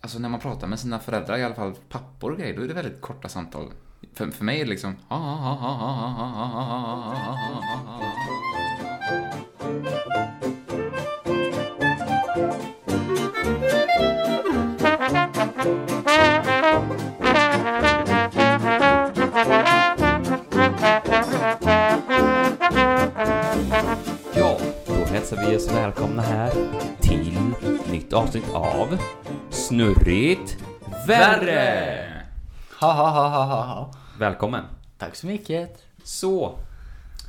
alltså när man pratar med sina föräldrar, i alla fall pappor och grejer, då är det väldigt korta samtal. För, för mig är det liksom... Ja, då hälsar vi er så välkomna här till nytt avsnitt av Snurrigt Värre! Ha, ha, ha, ha, ha, ha. Välkommen! Tack så mycket. Så,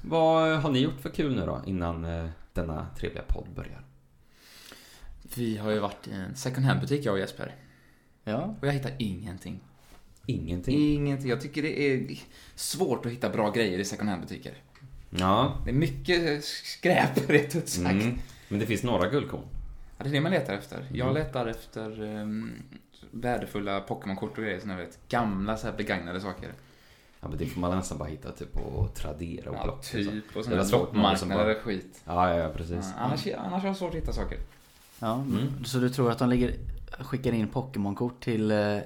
vad har ni gjort för kul nu då innan eh, denna trevliga podd börjar? Vi har ju varit i en second hand-butik, jag och Jesper. Ja. Och jag hittar ingenting. Ingenting. Ingenting. Jag tycker det är svårt att hitta bra grejer i second hand-butiker. Ja. Det är mycket skräp, rätt ut sagt. Mm. Men det finns några guldkorn. Ja, det är det man letar efter. Mm. Jag letar efter um, värdefulla Pokémon-kort och grejer, såna här, vet, gamla så här begagnade saker. Ja, men det får man nästan bara hitta typ på Tradera och Ja, Blocket. typ. Och Det sådana var här svårt med någon som loppmarknader och skit. Ja, ja, ja, precis. Ja, annars, annars har jag svårt att hitta saker. ja. Mm. Så du tror att de ligger, skickar in Pokémon-kort till eh,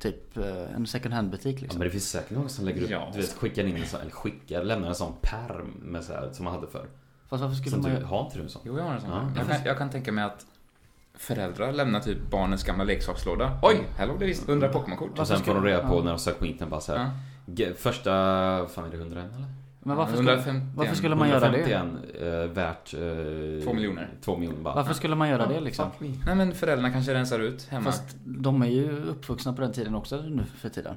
typ eh, en second hand-butik Ja, liksom? men det finns säkert någon som lägger upp, Ja. du vet, skickar in en sån, eller skickar, lämnar en sån perm med så här, som man hade förr. Fast varför skulle Som man du, göra... har inte du en sån? Jo, jag har en sån. Ja, jag, precis. kan, jag kan tänka mig att föräldrar lämnar typ barnens gamla leksakslåda. Oj, här låg det visst 100 Pokémon-kort. Mm. Och Varför sen ska- får de reda på ja. när de söker på internet bara så här. Ja. "G- Första, fan är det 100 eller? Men varför skulle, 151. varför skulle man göra det? 151 eh, värt... Eh, Två miljoner. Två miljoner bara. Varför skulle man göra det liksom? Fuck me. Nej, men föräldrarna kanske rensar ut hemma. Fast de är ju uppvuxna på den tiden också nu för tiden.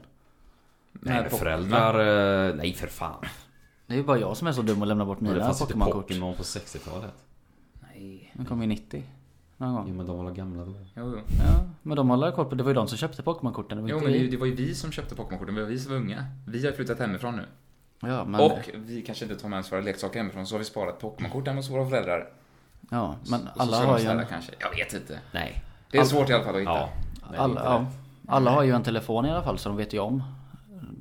Nej, men Pop- föräldrar... Eh, nej, för fan. Det är ju bara jag som är så dum och lämnar bort det mina fanns inte Pokémon-kort. Pokémon på 60-talet. Nej. De kom ju 90. Någon gång. Jo, men de var gamla då. Jo, jo. Ja, men de håller jag koll på. Det var ju de som köpte Pokémon-korten. det var jo inte men det, är ju- vi. det var ju vi som köpte Pokémon-korten. Det var vi som var unga. Vi har flyttat hemifrån nu. Ja, men... Och vi kanske inte tar med ens våra leksaker hemifrån, så har vi sparat Pokémon-kort hemma hos våra föräldrar. Ja, men Och så alla ska de har ju ställa en... kanske. Jag vet inte. Nej. Det är svårt i alla fall att hitta. Ja. Nej, Alla, inte ja, det. alla har ju en telefon i alla fall så de vet ju om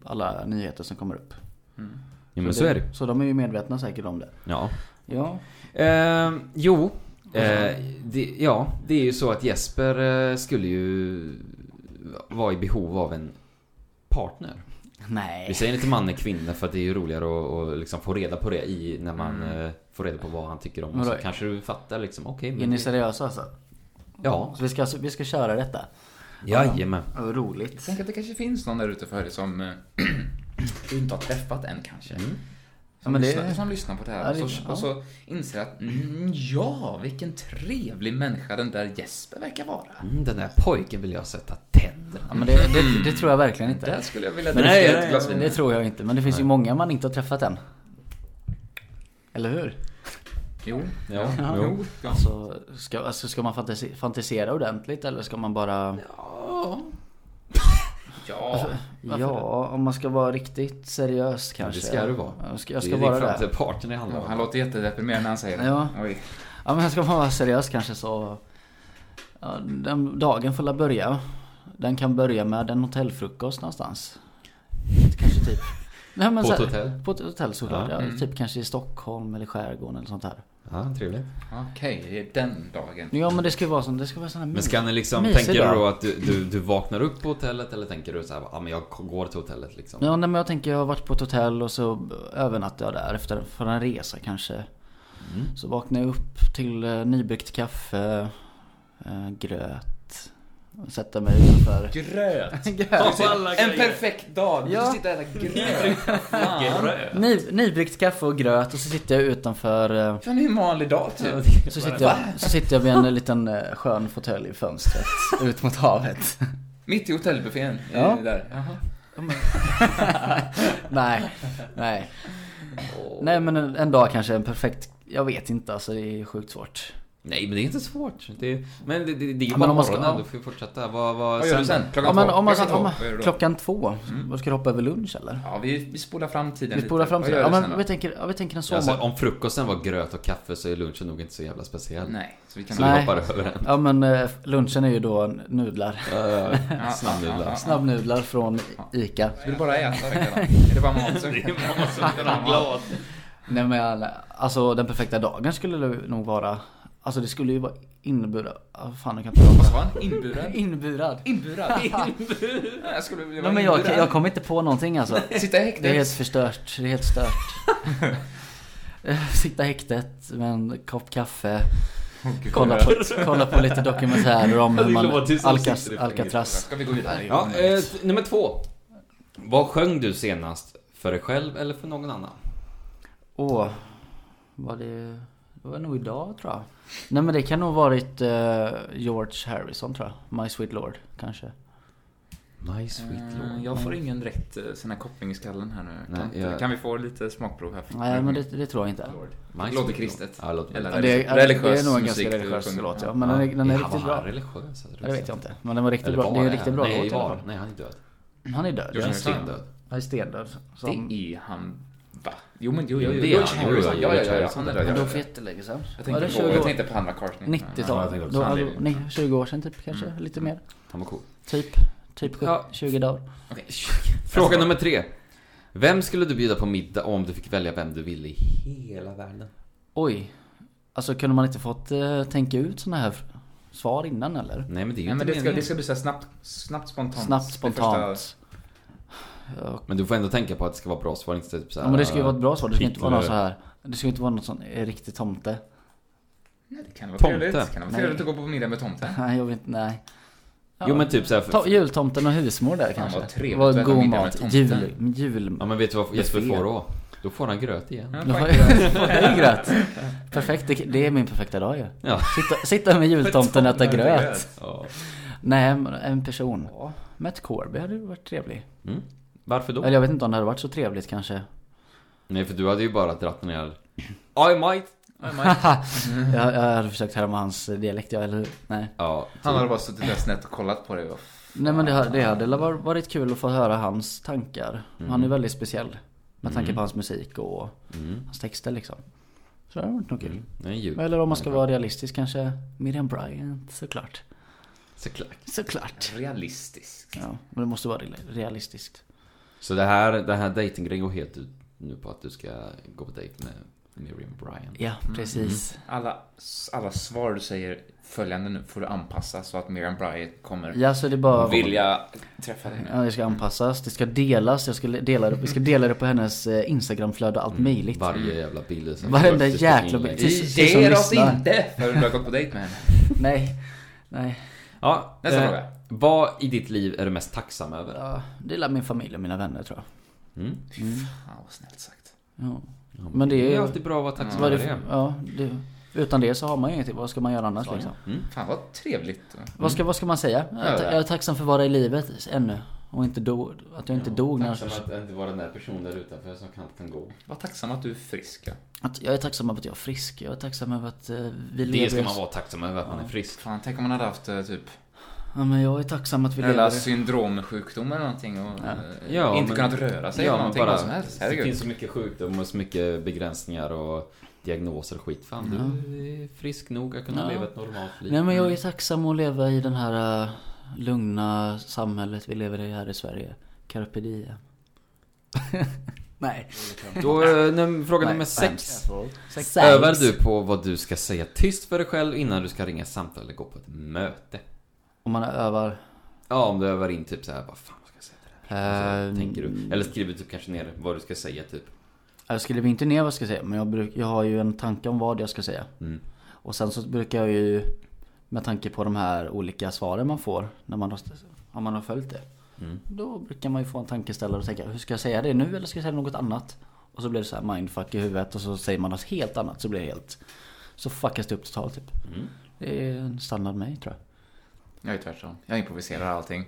alla nyheter som kommer upp. Jo, men så är det. Så de är ju medvetna säkert om det. Ja. Ja, Eh, jo. Eh, det, ja, det är ju så att Jesper eh, skulle ju vara i behov av en partner. Vi nej. säger inte man är kvinna för att det är ju roligare att att liksom få reda på det i när man eh, får reda på vad han tycker om. Och så Mm. Vadå? kanske du fattar liksom, okej Är men... ni seriösa alltså? ja, Så vi ska, alltså, vi ska köra detta? jajamän. Ja, vad Roligt. Tänk att det kanske finns någon där ute för dig som eh, du inte har träffat än kanske. Mm. Ja, Som, men lyssnar, det, som lyssnar på det här Ja, det- och, så, och så inser att mm, ja, vilken trevlig människa den där Jesper verkar vara. Mm, den där pojken vill jag sätta tänderna. ja, men det, det, det tror jag verkligen Där inte. skulle jag vilja Men dricka nej, ett glas vin. det tror jag inte. Men det finns ju många man inte har träffat än. Eller hur? Jo. Ja, Ja. jo. Jo. Ja. Så ska, alltså, ska man fantasi, fantisera ordentligt eller ska man bara... ja. Alltså- Ja, om man ska vara riktigt seriös kanske. Det ska du vara. Jag ska, jag det ska är vara liksom det. inte partner det handlar Ja, om. han låter jättedeprimerad när han säger det. Ja. Oj. Ja men ska man vara seriös kanske så... Ja, den dagen får la börja. Den kan börja med en hotellfrukost någonstans. Kanske typ... Nej, men På så ett här- hotell? På ett hotell såklart. Ja. Ja. Typ kanske i Stockholm eller skärgården eller sånt här. Ja, trevligt. Mm. Okej, det är den dagen. Ja men det ska ju vara som, det ska vara sån här Men mys. ska ni liksom, Mysig tänker du dag. då att du, du, du vaknar upp på hotellet eller tänker du så här, ja men jag går till hotellet liksom? Ja nej, men jag tänker jag har varit på ett hotell och så övernattar jag där efter för en resa kanske. Mm. Så vaknar jag upp till eh, nybryggt kaffe, eh, gröt. Sätter mig utanför. Gröt! gröt. En perfekt dag! Ja. Du sitter och äter gröt. Ny, nybryggt kaffe och gröt och så sitter jag utanför eh, Fan, det är en vanlig dag typ. så sitter, jag, så sitter jag vid en liten eh, skön fåtölj i fönstret ut mot havet. Mitt i hotellbuffén. Ja. Ja. Där. Jaha. nej, nej. Nej men en, en dag kanske en perfekt, jag vet inte alltså det är sjukt svårt. Nej men det är inte svårt. Det är, men det, det, det är ju Ja, men bara om man ska- morgonen, ja. du får ju fortsätta. Vad, vad, Vad gör du sen? Ja, Klockan men två? om man, klockan om två? man, Vad gör du då? Mm. klockan två, vad ska du hoppa över lunch eller? Ja, vi, vi spolar fram tiden Vi spolar lite. fram till Vad gör ja, du sen men då? vi tänker, ja, vi tänker en Alltså, sommar. om frukosten var gröt och kaffe så är lunchen nog inte så jävla speciell. Nej, så vi kan... Så vi Nej. hoppar över den. Ja men eh, lunchen är ju då nudlar. Ja, Snabbnudlar. ja, ja, ja. Snabbnudlar från ICA. Vill du bara äta verkar det? Är det bara mat som... glad. Nej men alltså den perfekta dagen skulle det nog vara Alltså det skulle ju vara inburad. Ah, fan, jag kan inte Vad sa han? Inburad? Inburad. Inburad? Inburad? Jag skulle vilja Nej, vara men jag, inburad. jag kommer inte på någonting alltså. Sitta i Det är helt häktet? förstört. Det är helt stört. Sitta i häktet med en kopp kaffe. Kolla på, kolla på lite dokumentärer om hur Det man låter ju som Alcas, sitter i fängelse. Alcatraz. Ska vi gå vidare? Ja, eh, t- nummer två. Vad sjöng du senast? För dig själv eller för någon annan? Åh, var det... Det var nog idag tror jag. Nej men det kan nog varit eh, George Harrison tror jag. My Sweet Lord kanske. My sweet Mm. Eh, Jag får ingen rätt eh, sån här koppling i skallen här nu. Nej, kan, inte- jag- kan vi få lite smakprov här? Nej men det, det tror jag inte. My Låter sweet kristet. Ja, det låter Eller Ja, det, är, det är nog musik en ganska du religiös sjunger. låt ja. Men den är, den är riktigt Han bra. var religiös. alltså, Ja, det vet jag inte. Men den var riktigt Eller bra. var Det är en han? riktigt bra Nej, låt i alla var. fall. Nej, han är död. Han är död. George Han är Harrison. stendöd. Han är stendöd. Som... Det är han, va? Jo men jo, jo, Jo, jo. det är George han. Harrison. Jo, Ja, jo, ja, George ja, ja. Harrison. Han är Men där, Men ja, då ja. för jättelänge sedan. Jag Var det tänkte, 20 på, jag år? tänkte på han McCartney. 90-tal. Ja, jag tänkte också Då- han alltså, lever. nej, 20 år sedan typ kanske. Lite mer. Han var cool. Typ. Typ sju- Ja. 20 dagar. Okej. Fråga nummer tre. Vem skulle du bjuda på middag om du fick välja vem du ville i hela världen? Oj. Alltså kunde man inte fått eh, tänka ut såna här svar innan eller? Nej men det är ju Nej, inte men det ska, meningen. det ska bli så här snabbt, snabbt spontant. Snabbt, Det spontant. första- Ja, Men du får ändå tänka på att det ska vara bra svar, inte typ så här, men det ska ju vara ett bra svar. Det ska inte vara något så titlar. här. Det ska inte vara något sån eh, riktig tomte. Nej, det kan vara Tomte. trevligt. Det kan vara Nej. trevligt att gå på middag med tomten. Nej, jag vet inte. Nej. Ja. Jo men typ såhär... Ta, jultomten och husmor där Fan, kanske. vad trevligt att Vad äta god middag med mat. tomten. Jul, jul. Ja men vet du vad Jesper Buffé. får då? Då får han gröt igen. Ja, Det var fan, kul. det är gröt. Perfekt, det, det är min perfekta dag ju. Ja. Sitta, sitta med jultomten och äta Tomten gröt. Ja. Nej, men en person. Ja. Matt Corby hade ju varit trevlig. Mm. Varför då? Eller jag vet inte om det hade varit så trevligt kanske. Nej för du hade ju bara dratt ner... I might! Ja, Mike. Jag, jag hade försökt härma hans dialekt, ja, eller hur? Nej. Ja. typ. Han hade bara suttit där snett och kollat på dig. och- Nej men det, hade- det hade väl var- varit kul att få höra hans tankar. Han är ju väldigt speciell. Med tanke på hans musik och Mm. hans texter liksom. Så det hade varit nog kul. Nej, jul. Eller om man ska vara realistisk kanske Miriam Bryant såklart. Såklart. Såklart. Realistisk. Ja, men det måste vara real- realistiskt. Så det här, det här dejtinggrejen går helt ut nu på att du ska gå på dejt med Miriam Bryant. Ja, precis. Alla, alla svar du säger följande nu får du anpassa så att Miriam Bryant kommer Mm. Ja, så det är bara... vilja träffa dig nu. Ja, det ska anpassas, det ska delas, jag ska le- dela det, vi ska dela det på hennes eh, Instagramflöde och allt möjligt. Mm. Varje jävla bild. är så- Varenda första jäkla inlägg. bild. Vi Precis, precis som ger oss lyssnar. inte förrän du har gått på dejt med henne. Nej, nej. Ja, Nästa eh, fråga. Vad i ditt liv är du mest tacksam över? Ja, det är min familj och mina vänner tror jag. Mm. Fan vad snällt sagt. Ja. Men det är Det är ju... alltid bra att vara tacksam Vad är över det för, det. ja, det, utan det så har man ju ingenting. Vad ska man göra annars liksom? Mm. Fan vad trevligt. Vad, ska, vad ska man säga? Jag är ta- jag är tacksam för att vara i livet ännu. Och inte do, att jag inte dog när Tacksam att inte vara den där personen där utanför som knappt kan gå. Vad tacksam att du är frisk. ja. att Jag är tacksam över att jag är frisk. Jag är tacksam över att eh, vi Det lever. ska man vara tacksam över, att man är frisk. Fan, tänk om man hade haft eh, typ Ja, men jag är tacksam att vi Eller lever. syndromsjukdom eller någonting och eh, Ja, inte men- kunnat röra sig eller någonting, vad som helst. det Herregud. finns så mycket sjukdom och så mycket begränsningar och diagnoser och skit. Fan, du är frisk nog att kunna Ja. leva ett normalt liv. Mm. Nej men jag är tacksam att leva i den här eh, lugna samhället vi lever i här i Sverige. Carpe diem. Nej. Då, eh, num- fråga nummer Nej, sex. Sex. Övar du på vad du ska säga tyst för dig själv innan du ska ringa ett samtal eller gå på ett möte? Om man övar. Ja, om du övar in typ så här, vad fan vad ska jag säga till det här? Ehm. Så tänker du. Eller skriver du typ kanske ner vad du ska säga typ. Jag skriver inte ner vad jag ska säga men jag, bruk, jag har ju en tanke om vad jag ska säga. Och sen så brukar jag ju med tanke på de här olika svaren man får när man har, om man har följt det. Då brukar man ju få en tankeställare och tänka hur ska jag säga det nu eller ska jag säga något annat? Och så blir det så här mindfuck i huvudet och så säger man något helt annat så blir det helt Så fuckas det upp totalt typ. Mm. Det är en standard mig tror jag. Jag är tvärtom. Jag improviserar allting.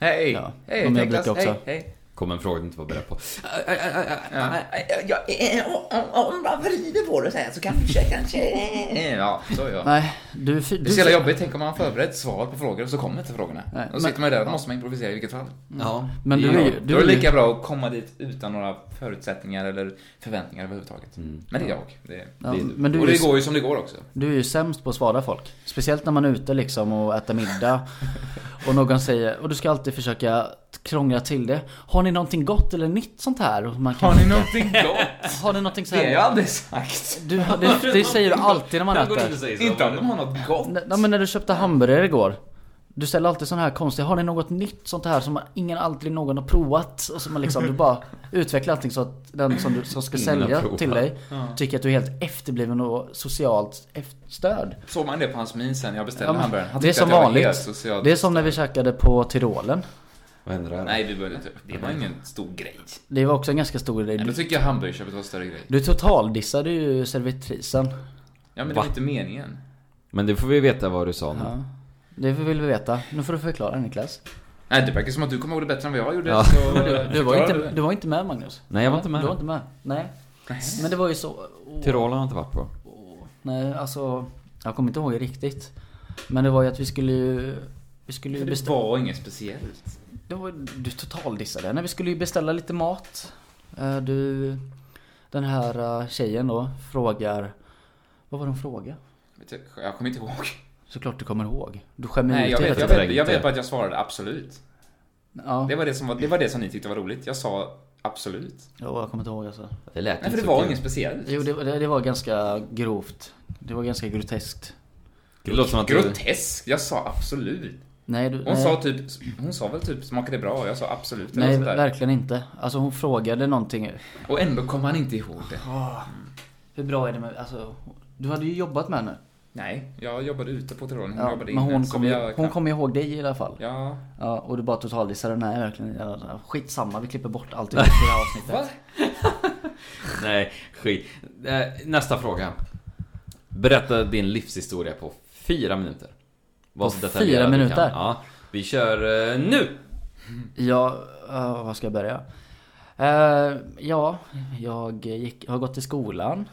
Hej! Ja, Hej men jag Niklas! brukar Hej! också- Hej! Kommer en fråga du inte var beredd på. Om man vrider på det så här så kanske, kanske... Ja, så gör jag. Nej, du är fi- Det är du så jävla är jobbigt, tänk om man har förberett svar på frågor och så kommer inte frågorna. Nej, och så sitter man där och måste man improvisera i vilket fall. Ja. Men du är ju, Då är du det är ju, lika bra att komma dit utan några förutsättningar eller förväntningar överhuvudtaget. Men det är jag. Det är... Mm. ja, det är- men du Och är ju det går ju som det går också. Du är ju sämst på att svara folk. Speciellt när man är ute liksom och äter middag. Och någon säger, och du ska alltid försöka t- krångla till det. Har ni någonting gott eller nytt sånt här? Och Man kan, Har ni någonting gott? har ni någonting så Det har här? jag aldrig sagt. Du, det, det säger du alltid när man Han går in äter. och säger så. Inte om de har något gott. N- Nej men när du köpte hamburgare igår. Du ställer alltid sådana här konstiga, har ni något nytt sånt här som ingen aldrig någon har provat? Och som man liksom, du bara utvecklar allting så att den som, du, som ska Ingen har sälja provat. till dig Ja. tycker att du är helt efterbliven och socialt efter- störd. Såg man det på hans min sen jag beställde Ja, men hamburgaren? Han det är tyckte som att jag var vanligt. helt socialt- Det är som när vi käkade på Tyrolen. Vad händer här? Nej, vi började inte. Det var ingen stor grej. Det var också en ganska stor grej. Nej, då Du, tycker jag hamburgerköpet var en större grej. du totaldissade ju servitrisen. Ja, men det Va? var inte meningen. Men det får vi veta vad du sa nu. Ja. Det vill vi veta. Nu får du förklara Niklas. Nej, det verkar som att du kommer ihåg det bättre än vad jag gjorde. Ja. Så Du, du, var, förklara inte, det. du var inte med Magnus. Nej, jag var inte med. Du var inte med. Nej. Nej. Men det var ju så. åh. Tyrol har jag inte varit på. Åh, Nej, alltså jag kommer inte ihåg riktigt. Men det var ju att vi skulle ju... Vi skulle ju För Det beställa... var inget speciellt. Det var, du totaldissade. Nej, vi skulle ju beställa lite mat. Eh, Du... Den här eh, tjejen då frågar... Vad var det hon fråga? Vet du, Jag kommer inte ihåg. Såklart du kommer ihåg. Du skämmer Nej, ut jag hela vet, jag tiden. vet, jag vet bara att jag svarade absolut. Ja. Det var det, som var, det var det som ni tyckte var roligt. Jag sa absolut. Jo, jag kommer inte ihåg alltså. Det lät Nej, inte för det så var kul. inget speciellt. Jo, det, det, det var ganska grovt. Det var ganska groteskt. Det låter som att du... Grotesk! Jag sa absolut. Nej, du... Hon nej. sa typ, hon sa väl typ smakade bra och jag sa absolut. eller Nej, sånt där. verkligen inte. Alltså hon frågade någonting. Och ändå kom han inte ihåg det. Hur bra är det med... Alltså, du hade ju jobbat med henne. Nej, jag jobbade ute på terrorn, hon Ja, Mm, jobbade men inne. hon så kommer jag ju- hon knappt- kommer ihåg dig i alla fall. Ja. Ja. och du bara totaldissade den här verkligen. Ja, Skitsamma, vi klipper bort allt i det här avsnittet. Va? Nej, skit. Eh, Nästa fråga. Berätta din livshistoria på fyra minuter. Var På så detaljerad fyra du kan. minuter? Ja. Vi kör eh, nu! Ja, eh, var ska jag börja? Eh, ja, jag gick, har gått i skolan.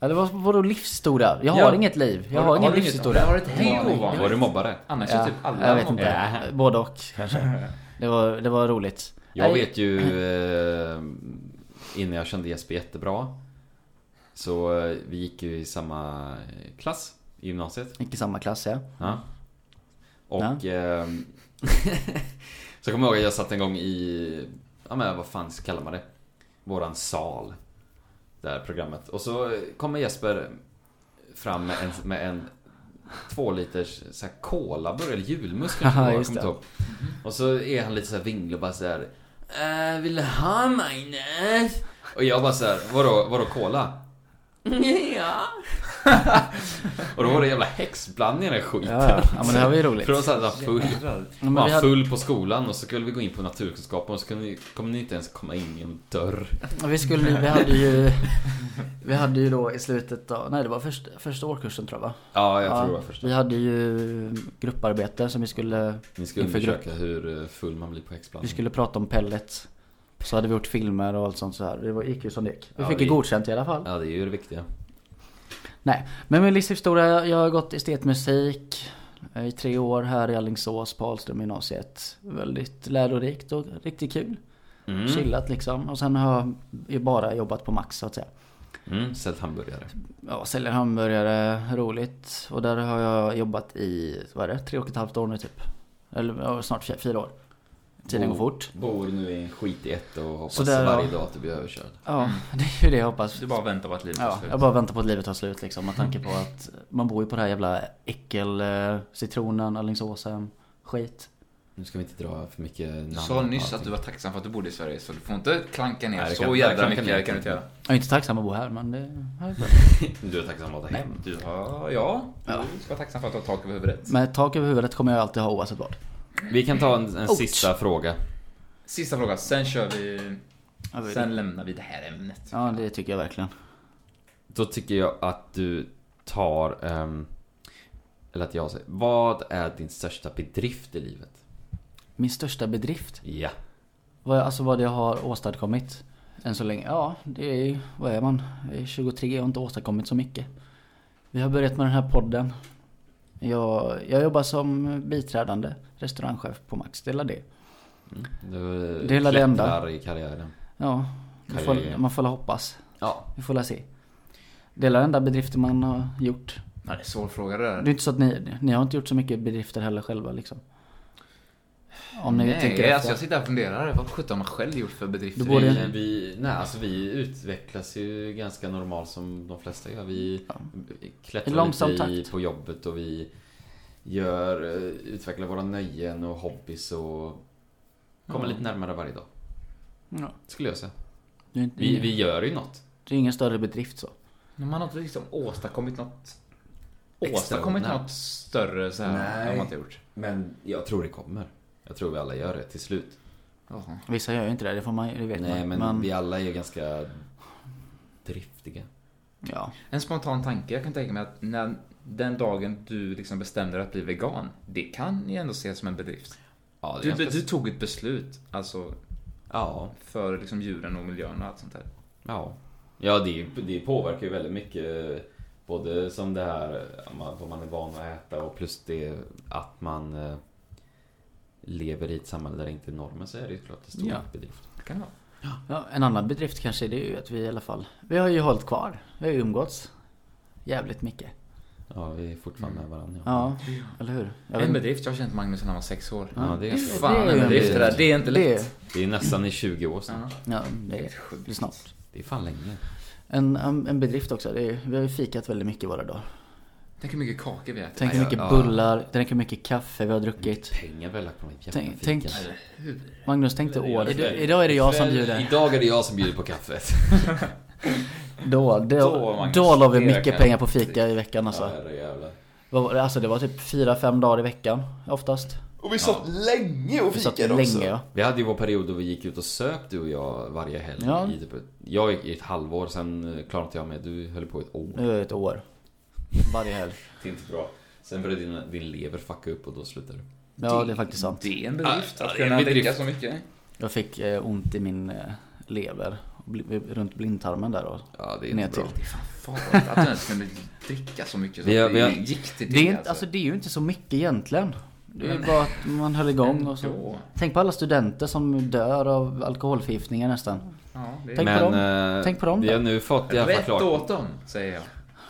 Eller vad, vadå livsstoria? Jag har Ja. inget liv. Jag Har- har, har ingen du inget- livshistoria. har du ett liv? Ja, Ovanligt. Var du mobbare? Annars Ja, är typ alla jag vet någon- inte. Både och kanske. Det var, det var roligt. Jag Nej, vet ju eh, innan jag kände Jesper jättebra. Så eh, vi gick ju i samma eh, klass i gymnasiet. Gick i samma klass ja. Ja. Och... Eh, så kommer jag ihåg att jag satt en gång i... Ja men vad fan kallar man det? Våran sal. Det här programmet. Och så kommer Jesper fram med en, med en två liters så här, kolaburk, eller julmust kanske det var, Ja, jag just kommer det. inte ihåg. Och så är han lite så här vinglig och bara så här. "Eh, vill du ha Magnus? Och jag bara så här, vadå, vadå cola? ja. och då var det jävla häxblandning i den här skiten. Ja, ja. ja men det här var ju roligt. För de satt där full, Men vi var hade- full på skolan och så skulle vi gå in på naturkunskapen och så kunde ni, kom ni inte ens komma in genom dörr. Ja, Vi skulle ju- vi hade ju Vi hade ju då i slutet av, nej det var först, första årskursen tror jag va? Ja, jag tror det var första. Vi hade ju grupparbete som vi skulle Ni skulle Inför undersöka hur eh, full man blir på häxblandning. Vi skulle prata om pellets Så hade vi gjort filmer och allt sånt så här. Det var, gick ju som det gick Vi Ja, fick det ju gick. godkänt i alla fall Ja, det är ju det viktiga. Nej, men min livshistoria, jag har gått estetmusik eh, i tre år här i Alingsås på Ahlström gymnasiet. Väldigt lärorikt och riktigt kul. Mm. Chillat liksom. Och sen har jag ju bara jobbat på Max så att säga. Mm, sällt hamburgare. Ja, säljer hamburgare, roligt. Och där har jag jobbat i, vad är det, tre och ett halvt år nu typ. Eller ja, snart fy- fyra år. Tiden går Oh. fort. Bor nu i en skit i ett och hoppas Sådär, varje ja. dag att du blir överkörd. Ja, det är ju det jag hoppas. Du bara väntar på att livet Ja, tar slut. jag bara väntar på att livet tar slut liksom. Med tanke på att man bor ju på det här jävla äckel, eh, citronen, Alingsåshem, skit. Nu ska vi inte dra för mycket namn. Du sa och nyss allting. att du var tacksam för att du bodde i Sverige, så du får inte klanka ner Nej, det kan- så jag jävla klankar mycket. ner. Det kan du inte göra. Jag är inte tacksam att bo här men det här är bra. Du är tacksam att vara hem. Du har, ja, Ja. du ska vara tacksam för att du har tak över huvudet. Men ett tak över huvudet kommer jag alltid ha oavsett vad. Vi kan ta en, en Ouch. sista fråga. Sista frågan, sen kör vi... Ja, det- Sen lämnar vi det här ämnet. Ja det tycker jag verkligen. Då tycker jag att du tar... ehm, eller att jag säger. Vad är din största bedrift i livet? Min största bedrift Ja. Vad, alltså vad jag har åstadkommit än så länge? Ja, det är ju, vad är man? Jag är 23 och har inte åstadkommit så mycket. Vi har börjat med den här podden. Jag, jag jobbar som biträdande restaurangchef på Max, det är väl det. Du Det är väl det enda. klättrar i karriären. Ja, man får, Karriär. man får la hoppas. Ja. Vi får la se. Det är väl den enda bedriften man har gjort. Ja, det är svår fråga det Det där. är inte så att ni, ni har inte gjort så mycket bedrifter heller själva liksom. Om ni tänker Nej, efter. alltså jag sitter här och funderar. Vad sjutton har man själv gjort för bedrifter? Då borde- i- Vi, vi, nej, alltså vi utvecklas ju ganska normalt som de flesta gör. Vi I klättrar långsam lite i, takt. på jobbet och vi gör, eh, utvecklar våra nöjen och hobbys och kommer Ja. lite närmare varje dag. Ja, Skulle jag säga. det, är inte, Vi, vi gör ju något. det är ingen större bedrift så. Men Man har inte liksom åstadkommit något... Åstadkommit Extraordinärt. något större så här Nej. har man inte gjort. Men jag tror det kommer. Jag tror vi alla gör det till slut. Jaha. Vissa gör ju inte det, det får man ju- det vet Nej, man. men vi alla är ju ganska driftiga. ja. En spontan tanke jag kan tänka mig att när, den dagen du liksom bestämde dig att bli vegan, det kan ju ändå ses som en bedrift. Ja, det är Du, ganska- du tog ett beslut, alltså ja. för liksom djuren och miljön och allt sånt där. Ja. Ja, det, det påverkar ju väldigt mycket. Både som det här eh, man- vad man är van att äta och plus det att man eh, lever i ett samhälle där det inte är normer så är det ju klart en stor Ja. bedrift. Det kan det vara. ja, en annan bedrift kanske det är ju att vi i alla fall, vi har ju hållit kvar. Vi har ju umgåtts. Jävligt mycket. Ja, vi är fortfarande med varandra. Ja, eller hur? Jag En vet inte. bedrift, jag har känt Magnus sedan han var sex år. ja det, är, ganska- Fan, det en är ju bedrift det en där. Det är inte lätt. Det- det är nästan i 20 år sedan. Ja. Ja, det är det är snart. Det är fan länge. En, en en bedrift också. Det är, vi har ju fikat väldigt mycket våra dagar. Tänk hur mycket kakor vi äter. Tänk hur Ja, mycket ja. bullar, tänk hur mycket kaffe vi har druckit. Pengar vi har lagt på de här jävla Tänk, fikarna. tänk Magnus, tänk dig året. Ikväll- Idag är det jag som ikväll- bjuder. Idag är det jag som bjuder på kaffet. Då, Då, då, Magnus, då la vi det mycket kan- pengar på fika i veckan alltså. Herrejävlar. Vad var det? Alltså det var typ 4-5 dagar i veckan oftast. Och vi satt länge och Vi satt fikade också. länge ja. Vi hade ju vår period då vi gick ut och söp du och jag varje helg. Ja. I typ, ett- jag gick i ett halvår, sen eh, klarade inte jag med. Du höll på i ett år. Nu är det ett år. Varje helg. Det är inte bra. Sen började din, din lever fucka upp och då slutade du. Ja det är faktiskt sant. Det är en bedrift Ja, att det är en kunna dricka bedrift. så mycket. Jag fick eh, ont i min eh, lever. Bli- Runt blindtarmen där och Ja, det är ner inte till. bra. Farligt att du ens kunde dricka så mycket så Vi har- att vi det har- gick till det. Det är, inte, alltså, det är ju inte så mycket egentligen. Det är ju bara att man höll igång och så. Ändå. Tänk på alla studenter som dör av alkoholförgiftningar nästan. Ja, det Tänk är... på Men dem. eh, Tänk på dem vi då. har nu fått i alla fall Rätt klart. åt dem, säger jag.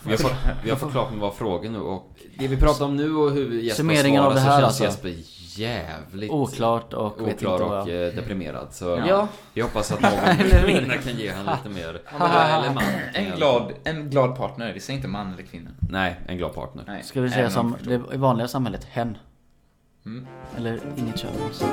Vi har, fått, vi har fått klart med våra frågor nu och det vi pratar om nu och hur Jesper Summeringen av svarar det här så känns alltså. Jesper jävligt Oklart och vet inte oklar och vad jag... eh, deprimerad. Så Ja. vi hoppas att någon kvinna kan ge han lite mer. Eller man. En glad, en glad partner, vi säger inte man eller kvinna. Nej, en glad partner. Nej. Ska vi även säga om- som det i vanliga samhället, hen. Mm. Eller inget kön alls.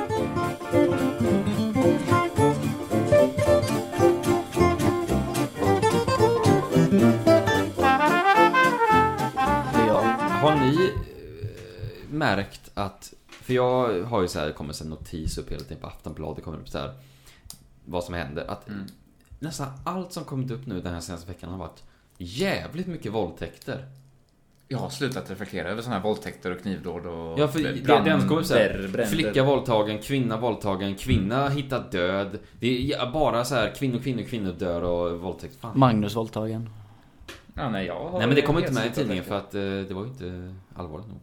Det är jag. Har ni eh, märkt att, för jag har ju så här, det kommer en notis upp hela tiden på Aftonbladet, det kommer upp så här vad som händer. Att Mm. nästan allt som kommit upp nu den här senaste veckan har varit jävligt mycket våldtäkter. Jag har slutat reflektera över sådana här våldtäkter och knivdåd och Ja, för det, det brand- enda som kommer upp så brä- här, bränder. flicka våldtagen, kvinna våldtagen, kvinna hittad död. Det är bara så här, kvinnor, kvinnor, kvinnor dör och våldtäkt. Fan. Magnus våldtagen. Ja, nej, jag har Nej men det kommer inte helt med i slutat tidningen för reflektera. att Mm. eh, det var ju inte allvarligt nog.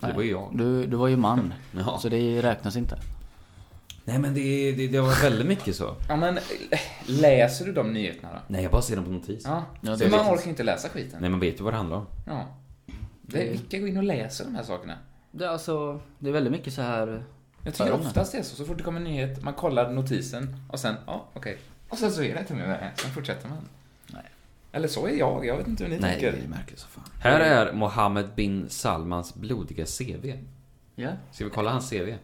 Så det var ju jag. Du, du var ju man. Ja. Så det räknas inte. Nej men det, det, det var väldigt mycket så. Ja, men eh, läser du de nyheterna då? Nej jag bara ser dem på notis. Ja, Ja, det så är man viktigt. orkar inte läsa skiten. Nej man vet ju vad det handlar om. Ja. Det, vilka går in och läser de här sakerna? Det är alltså, det är väldigt mycket så här... eh, Jag tycker Öronen. oftast det är så, så fort det kommer en nyhet, man kollar notisen och sen, ja, okej. Och sen så är det inte mer med det, sen fortsätter man. Nej. Eller så är jag, jag vet inte hur ni tänker. märkligt så fan. Här är Mohammed bin Salmans blodiga CV. Ja. Ska vi kolla hans CV?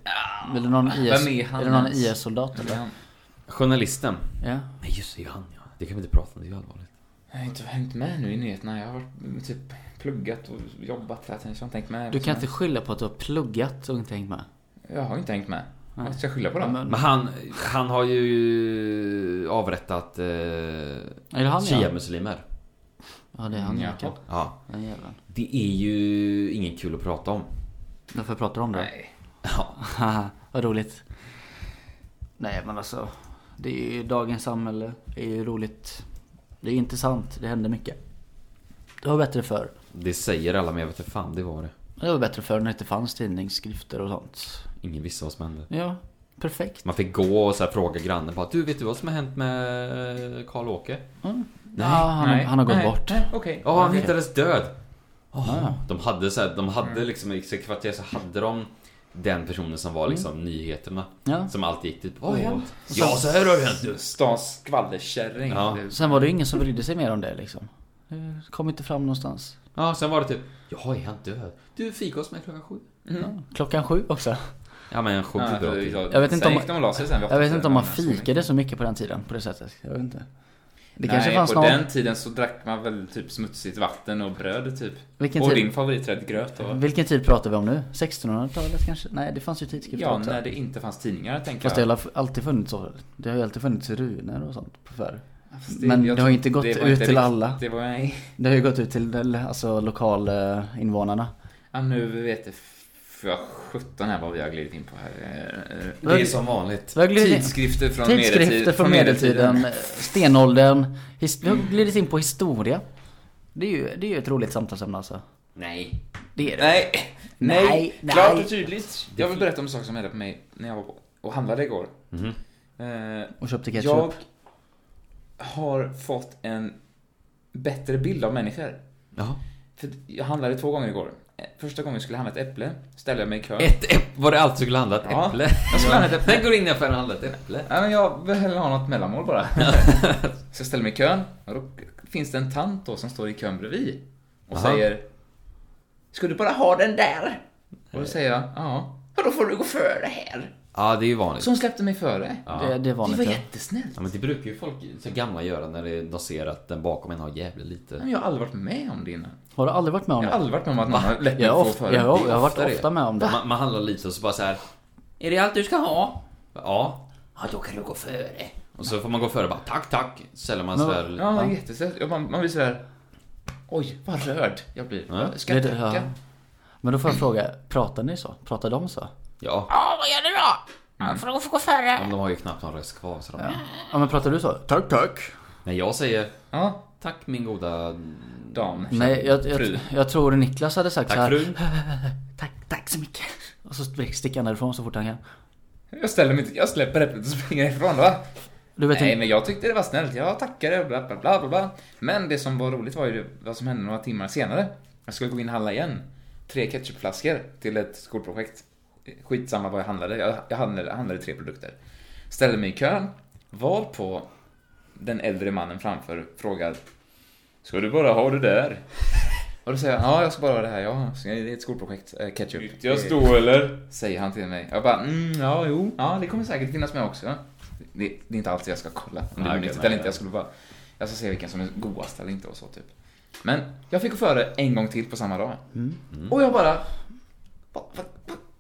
Vill du någon IS, Vem är han är det någon ens? IS-soldat eller? Men, Journalisten. Ja. Nej just det, ju han ja. Det kan vi inte prata om, det är ju allvarligt. jag har inte hängt med nu i nyheterna, jag har varit, mm, typ pluggat och jobbat hela tiden, så jag har inte hängt med. Du kan inte skylla på att du har pluggat och inte hängt med. Jag har inte hängt med. Nej. Vad ska jag skylla på då? Men- Men han, han har ju avrättat eh, Är det han ja? shia-muslimer. Ja det är han Jaha. Jakob. Ja. Den jäveln. Det är ju ingen kul att prata om. Varför pratar du om det? Nej. Ja. Haha, vad roligt. Nej men alltså. Det är ju dagens samhälle. Det är ju roligt. Det är intressant. Det händer mycket. Det var bättre förr. Det säger alla men jag vet inte fan, det var det. Det var bättre förr när det inte fanns tidningsskrifter och sånt. Ingen visste vad som hände. Ja, perfekt. Man fick gå och så här fråga grannen bara Du vet du vad som har hänt med Karl-Åke? Nej, ja, han, har- Nej. han har gått Nej. bort. Nej, Okej. Ja, han Okej. hittades död. Ja. De hade så här, de hade liksom i sitt kvarter så hade de den personen som var liksom nyheterna. Ja. Som alltid gick typ Mm. Vad har hänt? Ja, så här har det hänt nu. Stans skvallerkärring. Ja. Det- Sen var det ju ingen som brydde sig mer om det liksom. Det kom inte fram någonstans. Ja, sen var det typ Ja, är han död? Du, fika hos mig klockan sju. Mm. Ja. Klockan sju också. Ja, men sju Ja, är bra för- tid. Jag vet inte sen om- gick de och la sig sen vid Jag vet åtta inte om man tiden, men- fikade så mycket på den tiden på det sättet. Jag vet inte. Det Nej, kanske fanns på någon... den tiden så drack man väl typ smutsigt vatten och bröd typ. Vilken och tid? Mm. din favoriträtt gröt då? Vilken tid pratar vi om nu? 1600-talet kanske? Nej, det fanns ju tidskrifter Ja, också. när det inte fanns tidningar tänker Fast jag. det har alltid funnits så. Det har ju alltid funnits runer och sånt på förr. Fast men jag det har ju tror- inte gått det var ut inte till rikt- alla. Det var nej. Det har ju gått ut till eh, alltså, lokalinvånarna. Ja, nu vet jag för sjutton här vad vi har glidit in på här. Eh, eh, Det är som vanligt. Vi har glidit in- Tidskrifter från Tidskrifter medeltid- från medeltiden, eh, stenåldern. His- vi har glidit in på historia. Det är ju, det är ju ett roligt samtalsämne alltså. Nej. Det är det. Nej, nej, Nej, nej. klart och tydligt. Jag vill berätta om en sak som hände på mig när jag var på- och handlade igår. Mhm. Eh, Och köpte ketchup. jag har fått en bättre bild av människor. Ja. För jag handlade två gånger igår. Eh, Första gången jag skulle handla ett äpple, ställde jag mig i kö. Ett äpple. Var det allt du skulle handla? Ett Ja. äpple? Jag skulle handla ett äpple. Den går in i affären och handlar ett äpple. Nej, men jag vill hellre ha något mellanmål bara. Så jag ställer mig i kön och då finns det en tant då som står i kön bredvid och Aha. säger Ska du bara ha den där? Och då säger jag ja. Ja, då får du gå före här. Ja, det är ju vanligt. Så hon släppte mig före. Det, Ja. det är Det var vanligt. ja. jättesnällt. ja, men det brukar ju folk så gamla göra när det- de ser att den bakom en har jävligt Nej, lite. men Jag har aldrig varit med om det innan. Har du aldrig varit med om Jag det? har aldrig varit med om att någon har lätt mig Jag, har att gå ofta, före. jag, har- Det är jag har varit ofta det. ofta med om det. Man, man handlar lite och så bara så här. Är det allt du ska ha? Ja. Ja, då kan du gå före. Och så får man gå före och bara tack, tack. Så Säljer man Men så vad- här. lite. Ja, det är jättesnällt. Och Man, man blir sådär... Oj, vad rörd jag blir. Ja. Ska Det- jag det- ja. tacka? Men då får jag fråga, pratar ni så? Pratar de så? Ja. Ja, vad gör du då? Ja, får du få gå före? Ja, men de har ju knappt någon röst kvar. Så de... Ja men pratar du så? Tack tack. Men jag säger Ja, tack min goda... dam. Nej jag, Fru. jag, jag tror Niklas hade sagt så Tack här. frun. Tack, tack så mycket. Och så sticker han därifrån så fort han kan. Jag ställer mig inte, jag släpper äpplet och springer ifrån va? Du vet Nej inte- men jag tyckte det var snällt, jag tackade och bla bla bla bla bla. Men det som var roligt var ju det- vad som hände några timmar senare. Jag skulle gå in och handla igen. Tre ketchupflaskor till ett skolprojekt. Skitsamma vad jag handlade, jag, jag handlade, handlade tre produkter. Ställde mig i kön, var på den äldre mannen framför frågar Ska du bara ha det där? Och då säger jag, ja jag ska bara ha det här, ja. Så Det är ett skolprojekt, eh, ketchup. Eh, eller? Säger han till mig. Jag bara, mm, ja, jo, ja, det kommer säkert finnas med också. Det, det är inte alltid jag ska kolla om det Nej, är okej, nyttigt nej, eller inte. nej. Jag skulle bara, jag ska se vilken som är godast eller inte och så typ. Men jag fick gå före en gång till på samma dag. Mm. Och jag bara, vad va,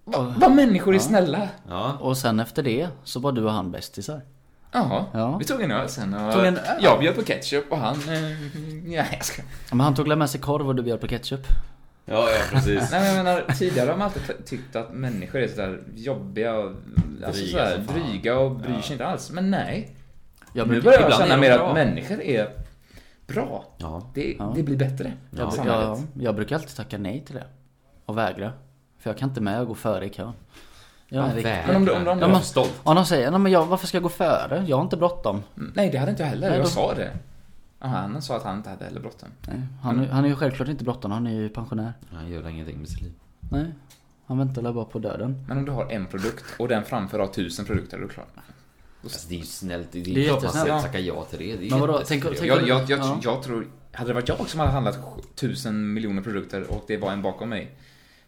va, va, vad människor är snälla. Ja. Och sen efter det så var du och han bästisar. Jaha, Ja. vi tog en öl sen och Tog en- jag bjöd på ketchup och han, eh, ja, jag ska. Men han tog väl med sig korv och du bjöd på ketchup. Ja, ja precis. Nej men jag menar, tidigare har man alltid ty- tyckt att människor är sådär jobbiga och alltså, Dryga sådär, som fan. dryga och bryr sig inte alls. Men nej. Jag nu brukar, börjar jag ibland känna är de mer bra. att människor är bra. Ja. Det, Ja. det blir bättre. jag, brukar- Samhället. jag, jag brukar alltid tacka nej till det. Och vägra. För jag kan inte med att gå före i kön. Jag är en riktig- Men om du- om du- om du- Jag man- är stolt. Ja de säger, nej men jag, varför ska jag gå före? Jag har inte bråttom. Nej, det hade inte jag heller. Nej, jag då- sa det. Ja, han sa att han inte hade heller bråttom. Nej, han, Mm. är- han är ju självklart inte bråttom, han är ju pensionär. Han gör ingenting med sitt liv. Nej. Han väntar väl bara på döden. Men om du har en produkt och den framför har tusen produkter, då är du klar. Alltså, det är ju snällt. Det är Det är ju klart man jättesnällt. säger tacka ja till det. det är Men vadå, jättesnällt. tänk- tänk- Jag, jag, jag, Ja. jag tror... Hade det varit jag som hade handlat tusen miljoner produkter och det var en bakom mig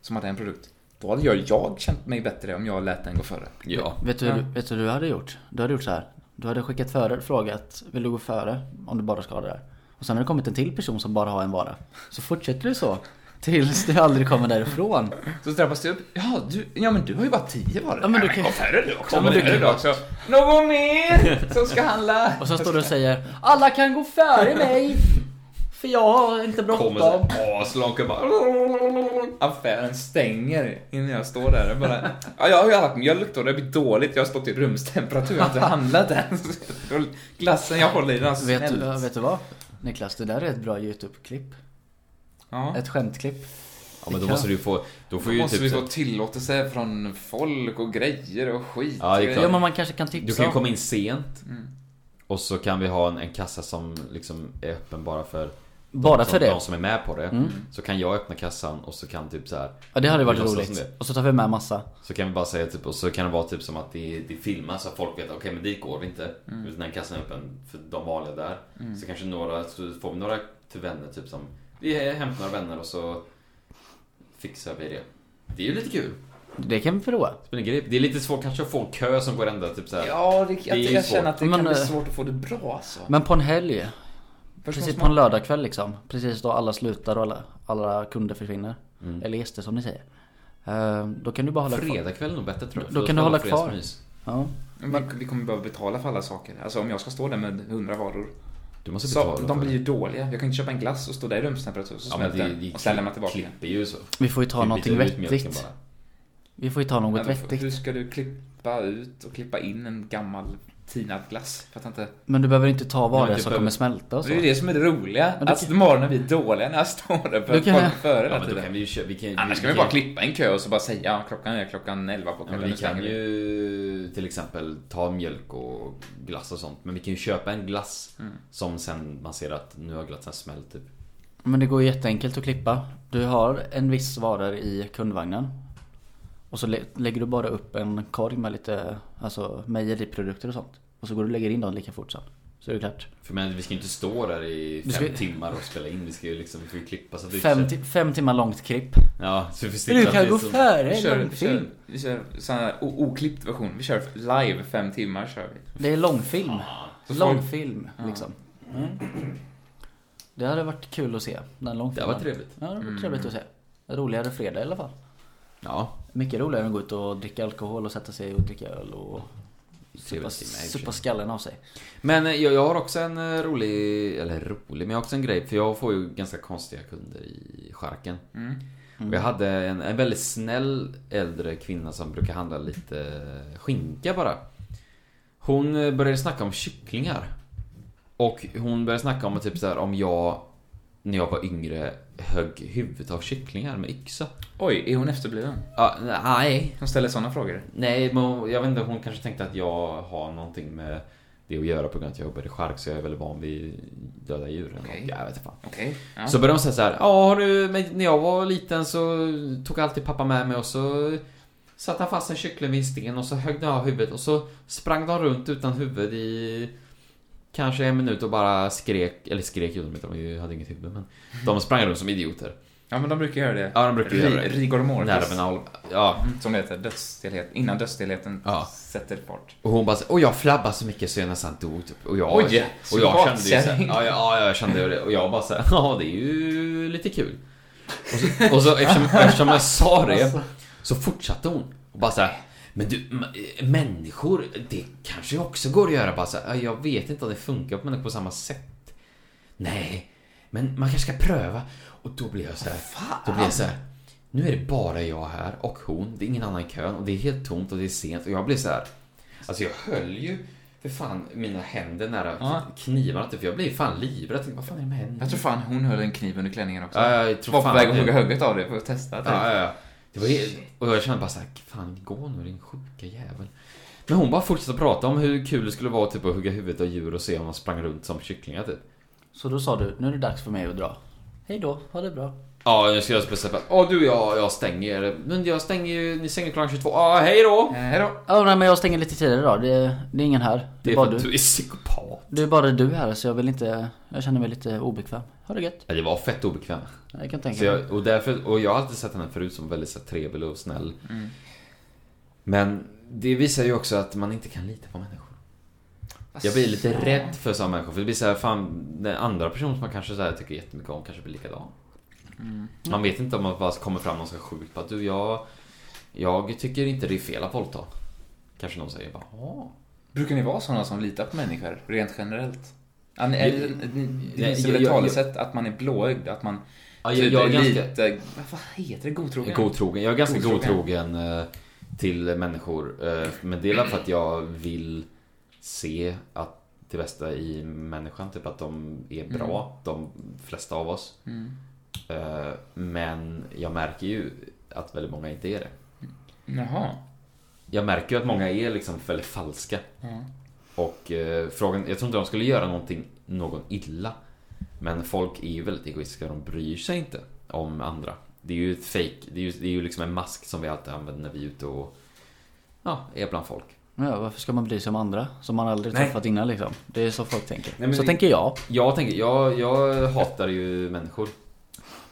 som hade en produkt, då hade jag, jag känt mig bättre om jag lät den gå före. Ja. Vet du, hur Ja. du, vet du hur du hade gjort? Du hade gjort så här. Du hade skickat före, frågat vill du gå före om du bara ska ha det där? Och sen har det kommit en till person som bara har en vara. Så fortsätter du så. Tills du aldrig kommer därifrån. Så straffas du upp. Ja, du, ja, men du har ju bara tio varor. Ja, men du kan- Gå före du också. Ja, men du Gå före kan- du också. Någon mer som ska handla. Och sen står du och säger Alla kan gå före mig! För jag har inte Kommer så bråttom. här aslångt och bara... Affären stänger innan jag står där. Jag, bara, ja, jag har ju handlat mjölk då, det blir dåligt. Jag har stått i rumstemperatur, jag har inte handlat än. Och Glassen jag håller i den har Vet smält. du, vet du vad? Niklas, det där är ett bra YouTube-klipp. Ja. Ett skämtklipp. Ja, men då måste du ju få... Då får Då ju måste vi typ... få så- tillåtelse från folk och grejer och skit. Ja, det är klart. Ja men man kanske kan Du kan tipsa ju om. Mm. komma in sent. Och så kan vi ha en, en kassa som liksom är öppen bara för Bara som, för det. Mm. De som är med på det. Så kan jag öppna kassan och så kan typ så här. Ja, det hade vi varit låtsas roligt. som det. Och så tar vi med massa. Så kan vi bara säga typ, och så kan det vara typ som att det, det filmas så att folk vet okej men dit går vi inte. Utan den kassan är öppen för de vanliga där. Så kanske några, så får vi några till vänner typ som, vi hämtar några vänner och så fixar vi det. Det är ju lite kul. Det kan vi prova. Spelar ingen grej. Det är lite svårt kanske att få en kö som går ända typ såhär. Ja, det, jag, är ju jag svårt. känner att det Men, kan bli eh, svårt att få det bra alltså. Men på en helg. Först Precis måste på en man, lördagkväll liksom. Precis då alla slutar och alla, alla kunder försvinner. Mm. Eller gäster som ni säger. Eh, Då kan du bara hålla kvar. Fredagkväll är nog bättre tror jag. Då För kan får du hålla alla kvar. fredagsmys. Ja. vi, vi kommer behöva betala för alla saker. Alltså om jag ska stå där med 100 varor. Du måste betala. Så, de för blir det. ju dåliga. Jag kan inte köpa en glass och stå där i rumstemperatur så Ja men smälter det, den det och sen lämna tillbaka den. klipper ju så. Vi får ju ta Vi byter någonting ut mjölken vettigt. bara. Vi får ju ta Men något varför- Hur vettigt. ska du klippa ut och klippa in en gammal tinad glass? Fattar inte. Men du behöver inte ta Nej, varor men typ som över- kommer smälta och Och så. det är ju det som är det roliga. du alltså morgonen vi är dåliga när jag står där för Du kan- folk före Ja hela men då kan tiden. vi ju köra, vi kan Annars kan vi bara klippa en kö och så bara säga ja, klockan är klockan 11 på Ja, men kvällen. vi nu stänger kan ju till exempel ta mjölk och glass och sånt. Men vi kan ju köpa en glass Mm. som sen man ser att nu har glassen smält typ. Men det går ju jätteenkelt att klippa. Du har en viss varor i kundvagnen. Och så lä- lägger du bara upp en korg med lite alltså, mejeriprodukter och sånt. Och så går du och lägger in dem lika fort sen. Så är det klart. För men vi ska ju inte stå där i Du fem ska- timmar och spela in. Vi ska ju liksom, vi får ju klippa så att vi Fem, inte- ti- fem timmar långt klipp. Ja, så vi får sitta Du kan precis gå som- före vi. Vi en kör, vi kör, långfilm. vi kör sån här o- oklippt version. Vi kör live fem timmar kör vi. Det är långfilm. Så får- Långfilm liksom. Mm. Det hade varit kul att se. Den långfilmen. Det var trevligt. Ja, det hade varit trevligt att se. Roligare fredag i alla fall. Ja. Mycket roligare än att gå ut och dricka alkohol och sätta sig och dricka öl och Trevligt timme, i och för sig. supa skallen av sig. Men eh, jag, jag har också en eh, rolig, eller rolig, men jag har också en grej. För jag får ju ganska konstiga kunder i charken. Och jag hade en, en väldigt snäll äldre kvinna som brukar handla lite skinka bara. Hon eh, började snacka om kycklingar. Och hon började snacka om typ så här om jag, när jag var yngre, högg huvudet av kycklingar med yxa. Oj, är hon efterbliven? Ja, nej, Hon ställer sådana frågor. Nej, men hon- jag vet inte. Hon kanske tänkte att jag har någonting med det att göra på grund av att jag jobbar i chark så jag är väldigt van vid döda djur. eller Okej. något. Jag vet inte fan. Okej. Ja. Så började hon säga så här. Ja, har du, men när jag var liten så tog alltid pappa med mig och så satte han fast en kyckling vid en sten och så högg den av huvudet och så sprang de runt utan huvud i kanske en minut och bara skrek, eller skrek gjorde de inte, de hade inget huvud men de sprang runt som idioter. ja, men de brukar göra det. Ja, de brukar göra det. Rigor mortis. Nerverna håller... Ja, Mm, Som det heter, dödsstelhet. Innan dödsstelheten Ja. sätter fart. Och hon bara så- och jag flabbade så mycket så jag nästan dog typ. Och jag, Oj, och jag kände ju så här, svatkärring. ja, ja, ja, jag kände ju det. Och jag bara så här, ja det är ju lite kul. Och så, och så eftersom, eftersom jag sa det så fortsatte hon. Och bara så här, men du, m- eh, människor, det kanske också går att göra. Bara så här, "Ja, jag vet inte om det funkar på människor på samma sätt. Nej, men man kanske ska pröva. Och då blir jag så här, då blir jag så här. Nu är det bara jag här och hon, det är ingen annan i kön och det är helt tomt och det är sent och jag blir så här. Alltså jag höll ju för fan mina händer nära Ja. knivarna typ, för jag blev fan livrädd. Jag tänkte, Vad fan är det med händerna? Jag tror fan hon höll en kniv under klänningen också. Ja, jag tror var på fan väg att det. hugga huvudet av dig för att testa. typ. Ja, ja, ja. Det var helt, och jag kände bara såhär, fan gå nu din sjuka jävel. Men hon bara fortsatte prata om hur kul det skulle vara typ, att hugga huvudet av djur och se om de sprang runt som kycklingar typ. Så då sa du, nu är det dags för mig att dra. Hej då, ha det bra. Ja, nu ska jag spela såhär, ja du jag, jag stänger, men jag stänger ju, ni stänger klockan 22, ja hej då! Eh, Hejdå. Ja, nej, men jag stänger lite tidigare idag. Det, det är ingen här. Det Det är är bara för att du. du är psykopat. Det är bara du här så jag vill inte, jag känner mig lite obekväm. Ha det gött. Ja, det var fett obekvämt. Ja, Jag kan tänka Så mig. jag, och, därför, och jag har alltid sett henne förut som väldigt så här, trevlig och snäll. Men det visar ju också att man inte kan lita på människor. Jag blir lite rädd för sådana människor. För det blir såhär, fan, den andra personen som man kanske så här, tycker jättemycket om kanske blir likadan. Man vet inte om man bara kommer fram och så sjukt bara, du jag, jag tycker inte det är fel att våldta. Kanske någon säger bara, "Ja." Brukar ni vara sådana som litar på människor, rent generellt? Ja, ni- är det- ni- Det Nej, finns jag- väl ett jag- talesätt att man är blåögd, att man... typ Ja, jag, jag är ganska, lite, vad heter det? Godtrogen? Godtrogen. Jag är ganska Godtrogen. godtrogen eh, till människor. eh, Men det är väl för att jag vill se att det bästa i människan, typ att de är bra, de flesta av oss. Eh, Men jag märker ju att väldigt många inte är det. Jaha. Jag märker ju att många är liksom väldigt falska. Och eh, frågan, jag tror inte de skulle göra någonting, någon illa. Men folk är ju väldigt egoistiska, de bryr sig inte om andra. Det är ju ett fake, det är ju, det är ju liksom en mask som vi alltid använder när vi är ute och ja, är bland folk. Ja, varför ska man bry sig om andra som man aldrig Nej. träffat innan liksom? Det är så folk tänker. Nej, men så det- tänker jag. Jag tänker, jag, jag hatar ju människor.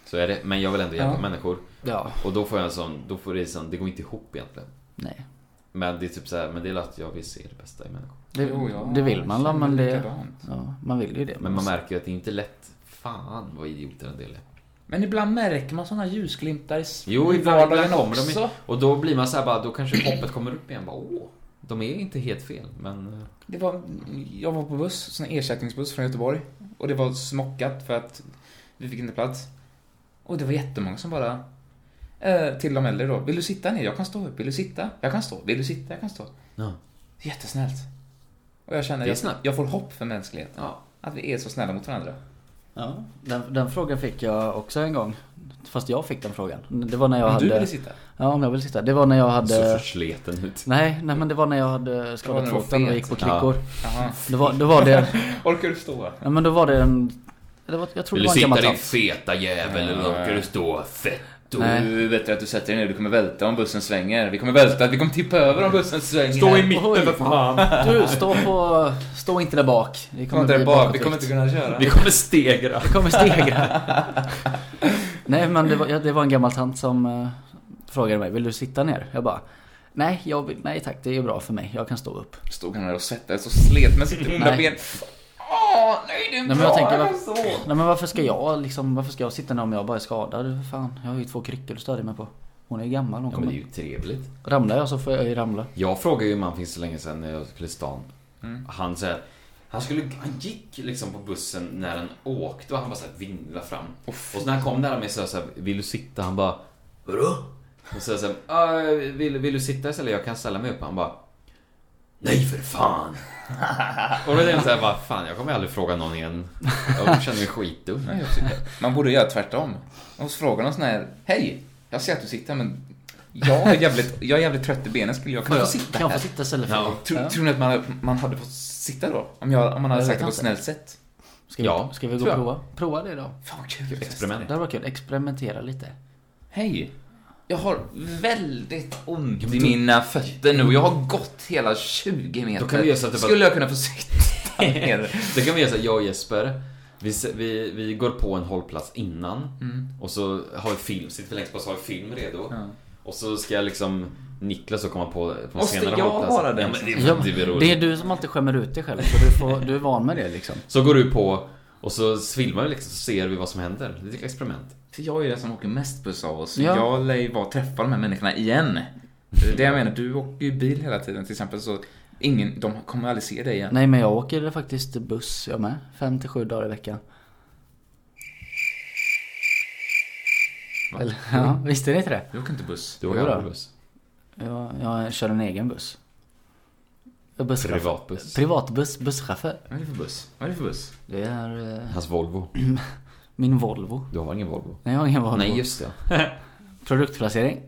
Så är det, men jag vill ändå hjälpa Ja. människor. Ja. Och då får jag en sån, då får det en sån, det går inte ihop egentligen. Nej. Men det är typ så här, men det är att jag vill se det bästa i människor. Det, Jo, jag det vill man la, känner men det... likadant. Ja, man vill ju det. Men man märker ju att det inte är lätt. Fan vad idioter en del är. Men ibland märker man såna ljusglimtar i Jo, i ibland, ibland vardagen kommer de också. ju- Och då blir man så här bara, då kanske hoppet kommer upp igen. Bara, åh, de är inte helt fel. Men eh, Det var, jag var på buss, sån här ersättningsbuss från Göteborg. Och det var smockat för att vi fick inte plats. Och det var jättemånga som bara... Eh, till de äldre då. Vill du sitta ner? Jag kan stå upp. Vill du sitta? Jag kan stå. Vill du sitta? Jag kan stå. Ja. Jättesnällt. Och jag känner, Det är jag, snällt. jag får hopp för mänskligheten. ja. Att vi är så snälla mot varandra. Ja, den, den frågan fick jag också en gång. Fast jag fick den frågan. Det var när jag Om hade... du ville sitta. Ja, om jag vill sitta. Det var när jag Så hade... alltså, försleten ut. Nej, nej men det var när jag hade Det var när skadat du var foten och fet. gick på Ja. kryckor. Jaha. Då, var, då var det... Orkar du stå? Ja, men då var det en... Det var, jag tror Vill det du var en sitta din gammal tant. feta jävel eller Ja. orkar du stå fett? Då Nej. är det bättre att du sätter dig ner. Du kommer välta om bussen svänger. Vi kommer välta. Vi kommer tippa över om bussen svänger. mitten för fan! Du, stå på... Stå inte där bak. Det Vi kommer inte, bli bak. Vi bakåtvikt. kommer inte kunna köra. Vi kommer stegra. Det kommer stegra. Nej men det var, ja, det var en gammal tant som eh, frågade mig, vill du sitta ner? Jag bara, nej, jag vill, nej tack det är bra för mig, jag kan stå upp. Stod han där och svettades och slet med sitt onda Nej. ben. Åh, nej det är Nej, men bra, jag tänker, är så. Nej men varför ska jag liksom, varför ska jag sitta ner om jag bara är skadad? För Fan, jag har ju två kryckor att stödja mig på. Hon är gammal, hon Ja, men kommer... det är ju trevligt. Ramlar jag så får jag ju ramla. Jag frågade ju en man för inte så länge sedan när jag skulle till stan. Han så här, han, skulle, han gick liksom på bussen när den åkte och han bara så här vinglade fram. och så när han kom nära mig så sa jag så här, vill du sitta? Han bara, vadå? Och så sa jag så här, "Ja, vill, vill du sitta istället? Jag kan ställa mig upp. Han bara, nej för fan. och då tänkte jag så här, bara, fan jag kommer aldrig fråga någon igen. Jag känner mig skitdum. Nej, jag tycker- Man borde göra tvärtom. Och så frågar någon sån här, hej, jag ser att du sitter men jag är jävligt, jag är jävligt trött i benen, skulle jag Kan kunna få jag sitta kan jag här? få sitta istället för Ja. dig? Tror, tror ni att man, man hade fått sitta då? Om, jag, om man hade Jag sagt det vet på ett inte. snällt sätt? Ska vi, Ja, ska vi gå tror och jag. prova? Prova det då. Fan vad kul. att testa. Experiment. Det här var kul, experimentera lite. Hej, jag har väldigt ont i mina fötter nu och jag har gått hela 20 meter. Då kan vi göra så att det bara- Skulle jag kunna få sitta ner? Det kan vi göra så här, jag och Jesper vi, s- vi, vi går på en hållplats innan Mm. och så har vi film, sitter vi längst på så har vi film redo. Och så ska jag liksom Niklas och komma på, på en Måste senare jag hållplats. vara den Ja, men det, Ja, det blir roligt. det är du som alltid skämmer ut dig själv, så du, får, du är van med det liksom. Så går du på och så filmar vi liksom så ser vi vad som händer. Det är ett experiment. För jag är den som åker mest buss av oss. Ja. Jag lär ju vara träffa de här människorna igen. Det är det jag menar, du åker ju bil hela tiden till exempel så ingen, de kommer aldrig se dig igen. Nej men jag åker faktiskt buss jag med. Fem till sju dagar i veckan. Eller, ja, visste ni inte det? Du åker inte buss. Du åker Jodå. aldrig buss. Jag, jag kör en egen buss. Jag är busschaufför. Privatbuss. Privatbuss, busschaufför. Vad är det för buss? Vad är det för buss? Det är eh, Hans Volvo. min Volvo. Du har ingen Volvo? Nej jag har ingen Volvo. Nej, just det. Produktplacering.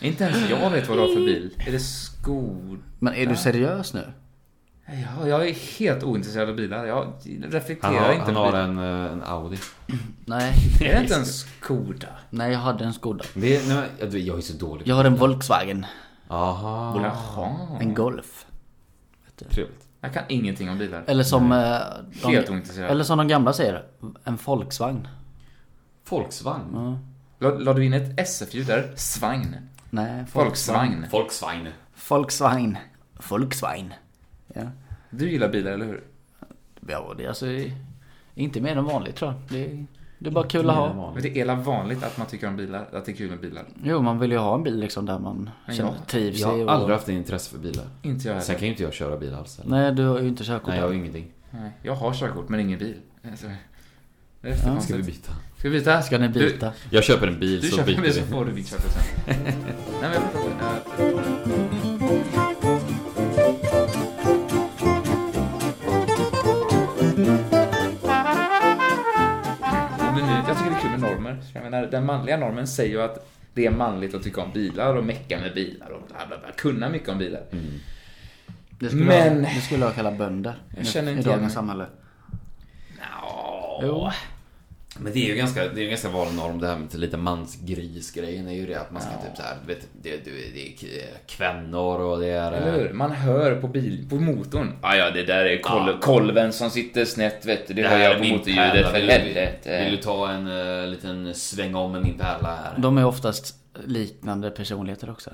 Inte ens jag vet vad du har för bil. Är det skor? Men är du seriös nu? Ja, jag är helt ointresserad av bilar. Jag reflekterar Han har, inte. han har över en, eh, en Audi. Nej. bil. Är det inte en Skoda? Nej jag hade en Skoda. Det är, nej, men, jag- du, jag är så dålig. Jag har en Volkswagen. Aha. Jaha. En Golf. Trevligt. Jag kan ingenting om bilar. Eller som, eh, Helt de, ointresserad. eller som de gamla säger, en Volksvagn. Volkswagen. La, la du in ett SF-ljud där? Svagn. Nej, Volksvagn. Volkswagen. Volkswagen. Volkswagen. Ja. Du gillar bilar, eller hur? ja, det är alltså inte mer än vanligt tror jag. Det är, det är bara kul att ha. Men det är hela vanligt att man tycker om bilar, att det är kul med bilar. Jo, man vill ju ha en bil liksom där man känner, jag- trivs Jag i. har Och... aldrig haft en intresse för bilar. Inte jag Sen heller. kan ju inte jag köra bil alls. Eller? Nej, du har ju inte körkort. Nej, jag har ju ingenting. Nej, jag har körkort, men ingen bil. Alltså, Det är ja, Ska vi byta? Ska vi byta? Ska ni byta? Jag köper en Du, bil du så köper byter mig så vi. får du ditt körkort sen. Nej, men jag vet inte. Men nu, jag tycker det är kul med normer. Jag menar, den manliga normen säger ju att det är manligt att tycka om bilar och mecka med bilar och bla bla bla, kunna mycket om bilar. Mm. Det skulle Men- Jag, det skulle jag kalla bönder. Jag känner i- inte igen I mig. dagens samhälle. Nja, Jo. Men det är ju ganska, det är ju ganska vanlig norm det här med lite mansgris-grejen är ju det att man ska typ såhär, du vet, det, det, det är k- kvinnor och det är... Eller hur? Man hör på, bil, på motorn. Ah, ja, det där är kol- Ja. kolven som sitter snett vet du. Det, Det hör här är jag på min motorljudet pärla, för vill, du- helvete. vill du ta en eh, liten sväng om med min pärla här? De är oftast liknande personligheter också.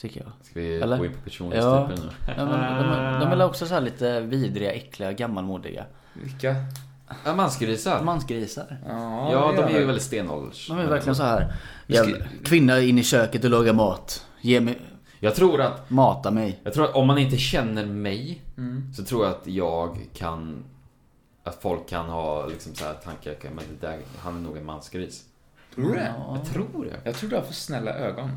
Tycker jag. Ska vi Eller? gå in på Ja. personlighetstypen nu? Ja, men de, är- de är väl också så här lite vidriga, äckliga, gammalmodiga. Vilka? Ja, mansgrisar. Mansgrisar. Ja, ja, det de är jag. ju väldigt stenålders. De är verkligen så här. Jävla, kvinna in i köket och laga mat. Ge mig, Jag tror att, mata mig. jag tror att om man inte känner mig Mm. så tror jag att jag kan, att folk kan ha liksom så här tankar, men det där, han är nog en mansgris. Tror du det? Jag tror det. Jag tror du har för snälla ögon.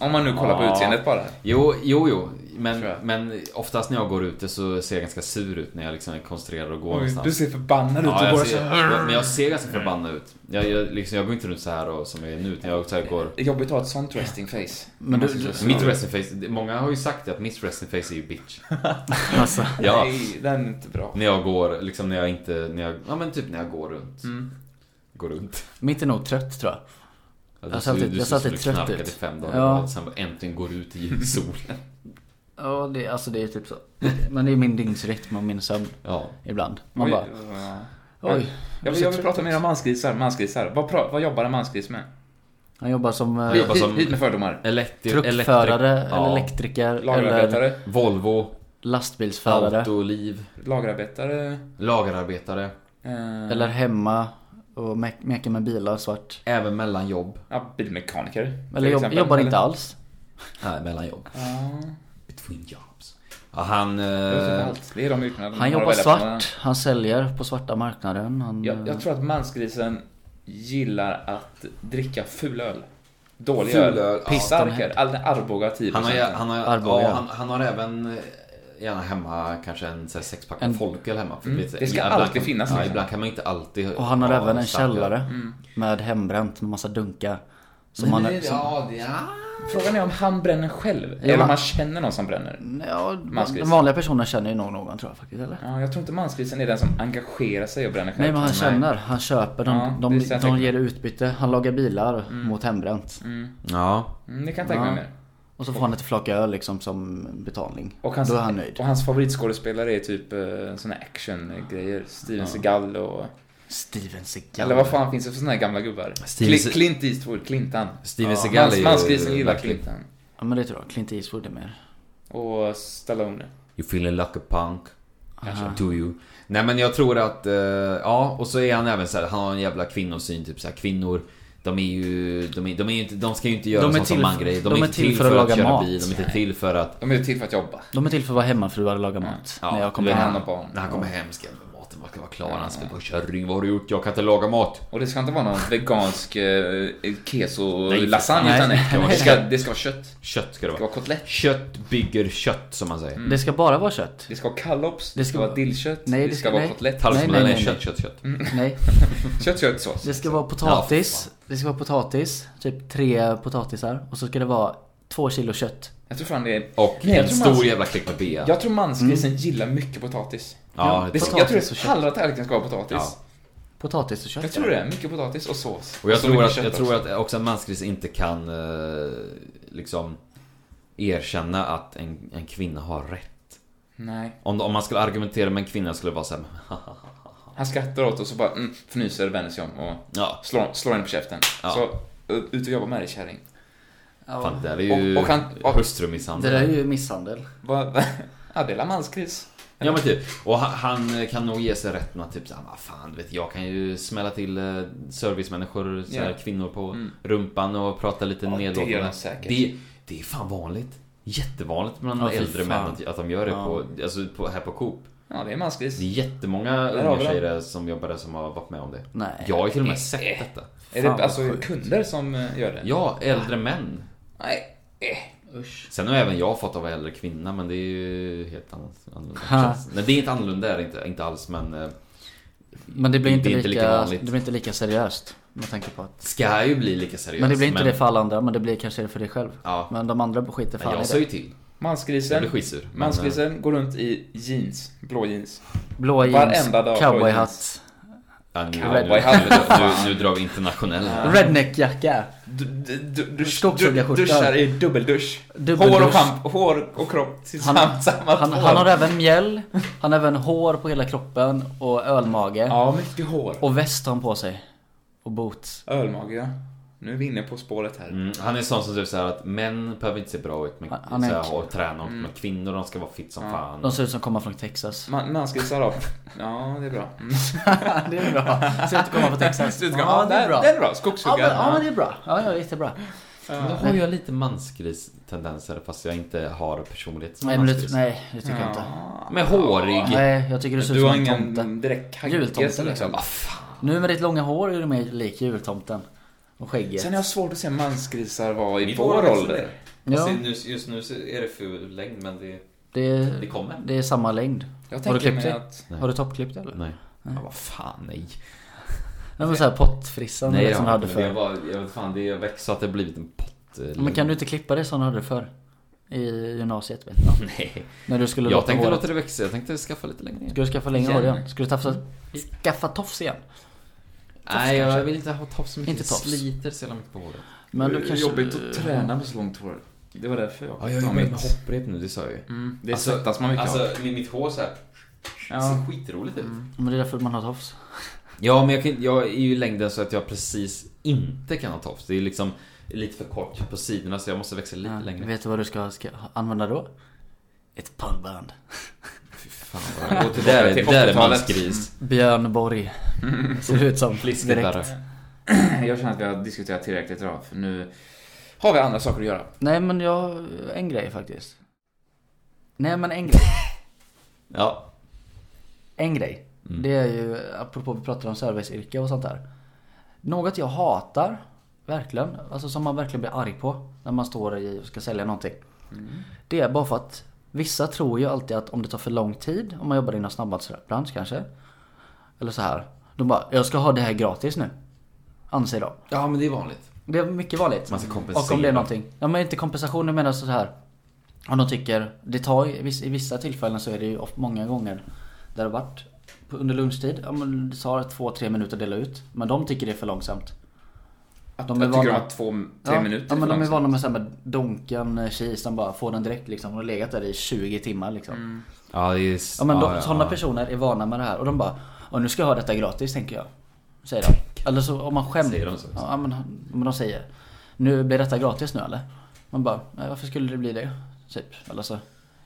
Om man nu kollar på Ja. utseendet bara. Jo, jo, jo. Tror Men, jag. men oftast när jag går ute så ser jag ganska sur ut när jag liksom är koncentrerad och går någonstans. du ser förbannad ut och Ja, bara jag så ser, här. jag, men jag ser ganska förbannad ut. Jag, jag, liksom, jag går inte runt så här och, som jag är nu, utan jag så här går... Jobbigt att ha ett sånt resting face. Men du- Mitt resting face, det- många har ju sagt det, att mitt resting face är ju bitch. Alltså. Ja. Nej, den är inte bra. När jag går, liksom när jag inte, när jag, ja men typ när jag går runt. Mm. Går runt. Mitt är nog trött tror jag. Ja, Jag satt ser- lite- jag ser satt som lite du trött knarkade ut. i fem dagar Ja. och sen bara äntligen går ut i solen. Ja, det, alltså det är typ så. Men det är min dygnsrytm och min sömn Ja. ibland. Man Oj, bara, ja. oj. Jag vill, jag vill prata om era mansgrisar. mansgrisar. Vad, pra, vad jobbar en mansgris med? Han jobbar som eh, Jag jobbar Hit, som- hit med fördomar. Elektri- truckförare, elektri- eller ja. elektriker, eller typ Lagerarbetare. Volvo, lastbilsförare. Autoliv, Lagerarbetare. lagerarbetare, Eh, Eller hemma och me- meka med bilar svart. även mellanjobb. ja, bilmekaniker. Eller jobb, jobbar inte alls. alls. Nej, mellanjobb. Ja, Between jobs. Ja, han... det är typ Eh, allt. det är de yrkena de har Han att jobbar välja på. svart, han säljer på svarta marknaden. Han, Jag, jag tror att mansgrisen gillar att dricka ful öl. Dålig Ful öl. öl, ja. Stark öl. All- Arboga 10%. han, har, han, har, Arboga. ja, han, han har även eh, gärna hemma kanske en så här, sexpack En- Mm. en... folköl hemma. För vet, det ska ibland alltid kan, finnas, Ja, liksom. ibland kan man inte alltid och han har ha även en starköl. källare Mm. med hembränt med massa dunkar. Som Men han, det- som, Ja, det, ja. Frågan är om han bränner själv. Eller om han känner någon som bränner. ja, Mansgris. den vanliga personen känner ju nog någon tror jag faktiskt, eller? Ja, jag tror inte mansgrisen är den som engagerar sig och bränner själv. Nej men han känner, han köper, de, Ja, de, det känns Mm. de säkert. ger utbyte, han lagar bilar mot hembränt. ja. Mm, det kan jag tänka mig Ja. mer. Och så får han ett flak öl liksom som betalning. Och hans, Då är han nöjd. och hans favoritskådespelare är typ eh, såna här actiongrejer. Steven Seagal och... Steven Seagal. Eller vad fan finns det för såna här gamla gubbar? Steven Cli- Se- Clint Eastwood, Clintan. Steven Ja, Seagal mans- är ju Mansgrisen gillar verkligen- Clintan. Ja men det tror jag, Clint Eastwood är mer. Och Stallone. You feeling like a punk? Kanske. Do you? Nej men jag tror att, eh, ja och så är han även så här, han har en jävla kvinnosyn typ så här, kvinnor de är ju, de, är, de, är ju inte, de ska ju inte göra De är sånt som till- mangrej. de är inte till för att, laga köra mat. bil, de är inte till för att... De är ju till för att jobba. De är till för att vara hemmafruar och laga mat. Ja, när jag kommer du vet, hem. han och barn. När han kommer hem ska maten vara- ska vara klar. Han ska bara kärring, vad har du gjort? Jag kan inte laga mat. Och det ska inte vara någon vegansk eh, Nej, keso-lasagne nej. utan Nej. det ska, det ska vara kött. Det Kött ska det ska vara. vara kotlett. Kött bygger kött som man säger. Det ska bara vara kött. Det ska vara kallops. Det Det ska ska vara vara- dillkött. Nej, det ska vara nej. kotlett. Nej, Tallriksmodellen nej, är nej, Mm. kött, kött, kött. Nej. Kött, kött, sås. Det ska vara potatis. Det ska vara potatis. Typ tre potatisar. Och så ska det vara två kilo kött. Jag tror fan det är... Och Nej, jag en tror stor mans- jävla klick med bea. Jag tror mansgrisen gillar mycket potatis. Ja, Det det ska, tror jag tror Mm. Potatis och att kött. halva tallriken ska vara potatis. Ja. Potatis och kött. Jag tror det. Mycket potatis och sås. Och jag så tror, mycket att, kött jag tror också. att också en mansgris inte kan eh, liksom erkänna att en, en kvinna har rätt. Nej. Om, om man skulle argumentera med en kvinna skulle det vara såhär, Han skrattar åt oss och bara mm, fnyser, vänder sig om och ja, slår, slår henne på käften. Ja. Så, u- ut och jobba med dig kärring. Ja. fan det där är ju Och- och han- och- Det hustrumisshandel. där är ju misshandel. Vad- Ja, det är la mansgris. Ja men typ, och han, han kan nog ge sig rätten att typ såhär, "Ah, fan du vet jag kan ju smälla till eh, servicemänniskor, såhär, Ja. Mm. kvinnor på rumpan och prata lite det gör nedlåtande. de säkert. det, det är fan vanligt. Jättevanligt bland Ja, fy äldre män fan. att, att de gör det Ja. på, alltså på, här på Coop. Ja, det är mansgris. Det är jättemånga Där har unga vi tjejer där som jobbar där som har varit med om det. Nej. Jag har ju till och med sett detta. Är Fan, det vad alltså sjukt. kunder som eh, gör det? Ja, Ah. äldre män. Nej. eh. Sen har även jag fått av äldre kvinna, men det är ju helt annat- annorlunda. Ha. Nej, det är inte annorlunda, det är det inte, inte alls, men... eh, Men det blir Det är inte, inte lika lika, vanligt. det blir inte lika seriöst. Med tanke på att... Ska ju bli lika seriöst. Men det blir inte det för alla andra. Men det blir kanske det för dig själv. Ja. Men de andra skiter Men fan jag i sa ju det. till. Jag Mansgrisen. blev skitsur. men, eh, Mansgrisen går runt i jeans, blå jeans. Blå jeans, varenda dag blå cowboyhatt. jeans. Ja, nu, Cowboy nu, hade- nu, nu drar vi internationell här. Redneckjacka. Du, du, du, du, Skogshuggarskjorta. duschar i dubbeldusch. Dubbeldusch. Hår och, kamp, hår och kropp tillsammans. samma Han, hår. han har även mjäll, han har även hår på hela kroppen och ölmage. Ja, mycket hår. Och väst har han på sig. Och boots. Ölmage, ja. Nu är vi inne på spåret här. Mm, han är sån som typ såhär att män behöver inte se bra ut men, Han- så han är här, kul. och träna och Mm. men kvinnor de ska vara fit som fan. De ser ut som kommer från Texas. Man, man ska säga upp. Ja, det är bra. Mm. det är bra. Ser ut att komma från Texas. Slutgång. Ja, det är bra. Det är bra. Ja men, Skogshuggaren. ja men det är bra. Ja, ja jättebra. Då har jag lite mansgris-tendenser fast jag inte har personlighet som Nej men det, mansgris. nej, det tycker jag inte. Men hårig. Nej, jag tycker du ser ut Du har som en ingen tomte. direkt haggis, Jultomte, liksom. Ah, Nu med ditt långa hår är du mer lik jultomten. Och skägget. Sen är jag svårt att se mansgrisar vara i Mitt vår hår är ålder. Ja, Fast nu- just nu så är det ful längd men det, det, det kommer. det är samma längd. Jag Har du tänker klippt mig dig? att... Nej. Har du toppklippt eller? Nej. Ja, vad fan nej. Nej men såhär pottfrissan Nej, eller det som du har hade inte, men det förr. var, jag vet fan, det växer så att det har blivit en pott. eh, Men kan du inte klippa det som du hade förr? I gymnasiet vet jag. Nej. När du skulle Jag låta tänkte håret. låta det växa, jag tänkte skaffa lite längre ner. Skulle du skaffa längre hår igen? Skulle du tafsa, skaffa tofs igen? Nej, jag vill inte ha tofs så mycket. Inte Det tofs. sliter så jävla mycket på håret. Men det du är kanske... jobbigt att träna med så långt hår. Det var därför jag Ja, jag tar jobbar mitt. med hopprep nu, det sa jag ju. Mm, det svettas man mycket av. Alltså, med mitt hår såhär. Det Ja. ser skitroligt ut. Men det är därför man har tofs. Ja, men jag, kan, jag är ju i längden så att jag precis inte kan ha tofs. Det är liksom lite för kort på sidorna så jag måste växa lite Ja, längre. Vet du vad du ska, ska använda då? Ett pannband. Fy fan vad jag går till- där, är- Till där är 80-talet. mansgris. Björn Borg. Ser det ut som. Mm. Direkt. Fliskgitarr. Jag känner att vi har diskuterat tillräckligt idag, för nu har vi andra saker att göra. Nej men jag, en grej faktiskt. Nej men en grej. Ja. En grej. Det är ju, apropå vi pratar om serviceyrke och sånt där. Något jag hatar, verkligen, alltså som man verkligen blir arg på när man står i och ska sälja någonting. Det är bara för att vissa tror ju alltid att om det tar för lång tid, om man jobbar inom snabbmatsbransch kanske. Eller så här. De bara, jag ska ha det här gratis nu. Anser de. ja, men det är vanligt. Det är mycket vanligt. Man ska kompensera. Och om det är någonting. Ja men inte kompensation, jag menar så här. Om de tycker, det tar i viss- i vissa tillfällen så är det ju ofta många gånger där det har varit på- under lunchtid, ja men det tar två, tre minuter att dela ut. Men de tycker det är för långsamt. Att, De de är är jag tycker vana. de har två, tre ja, minuter Ja men för de är långsamt. vana med, så här med donken, eh, cheese, de bara får den direkt liksom. De har legat där i 20 timmar liksom. Mm. Ja, det är... s- Ja men de, ja, sådana ja. personer är vana med det här och de bara "Ja, nu ska jag ha detta gratis tänker jag. Säger de. Eller så om man skämtar. Säger de så? Ja men, han- men de säger. Nu blir detta gratis nu eller? Man bara, nej varför skulle det bli det? Typ. Eller så.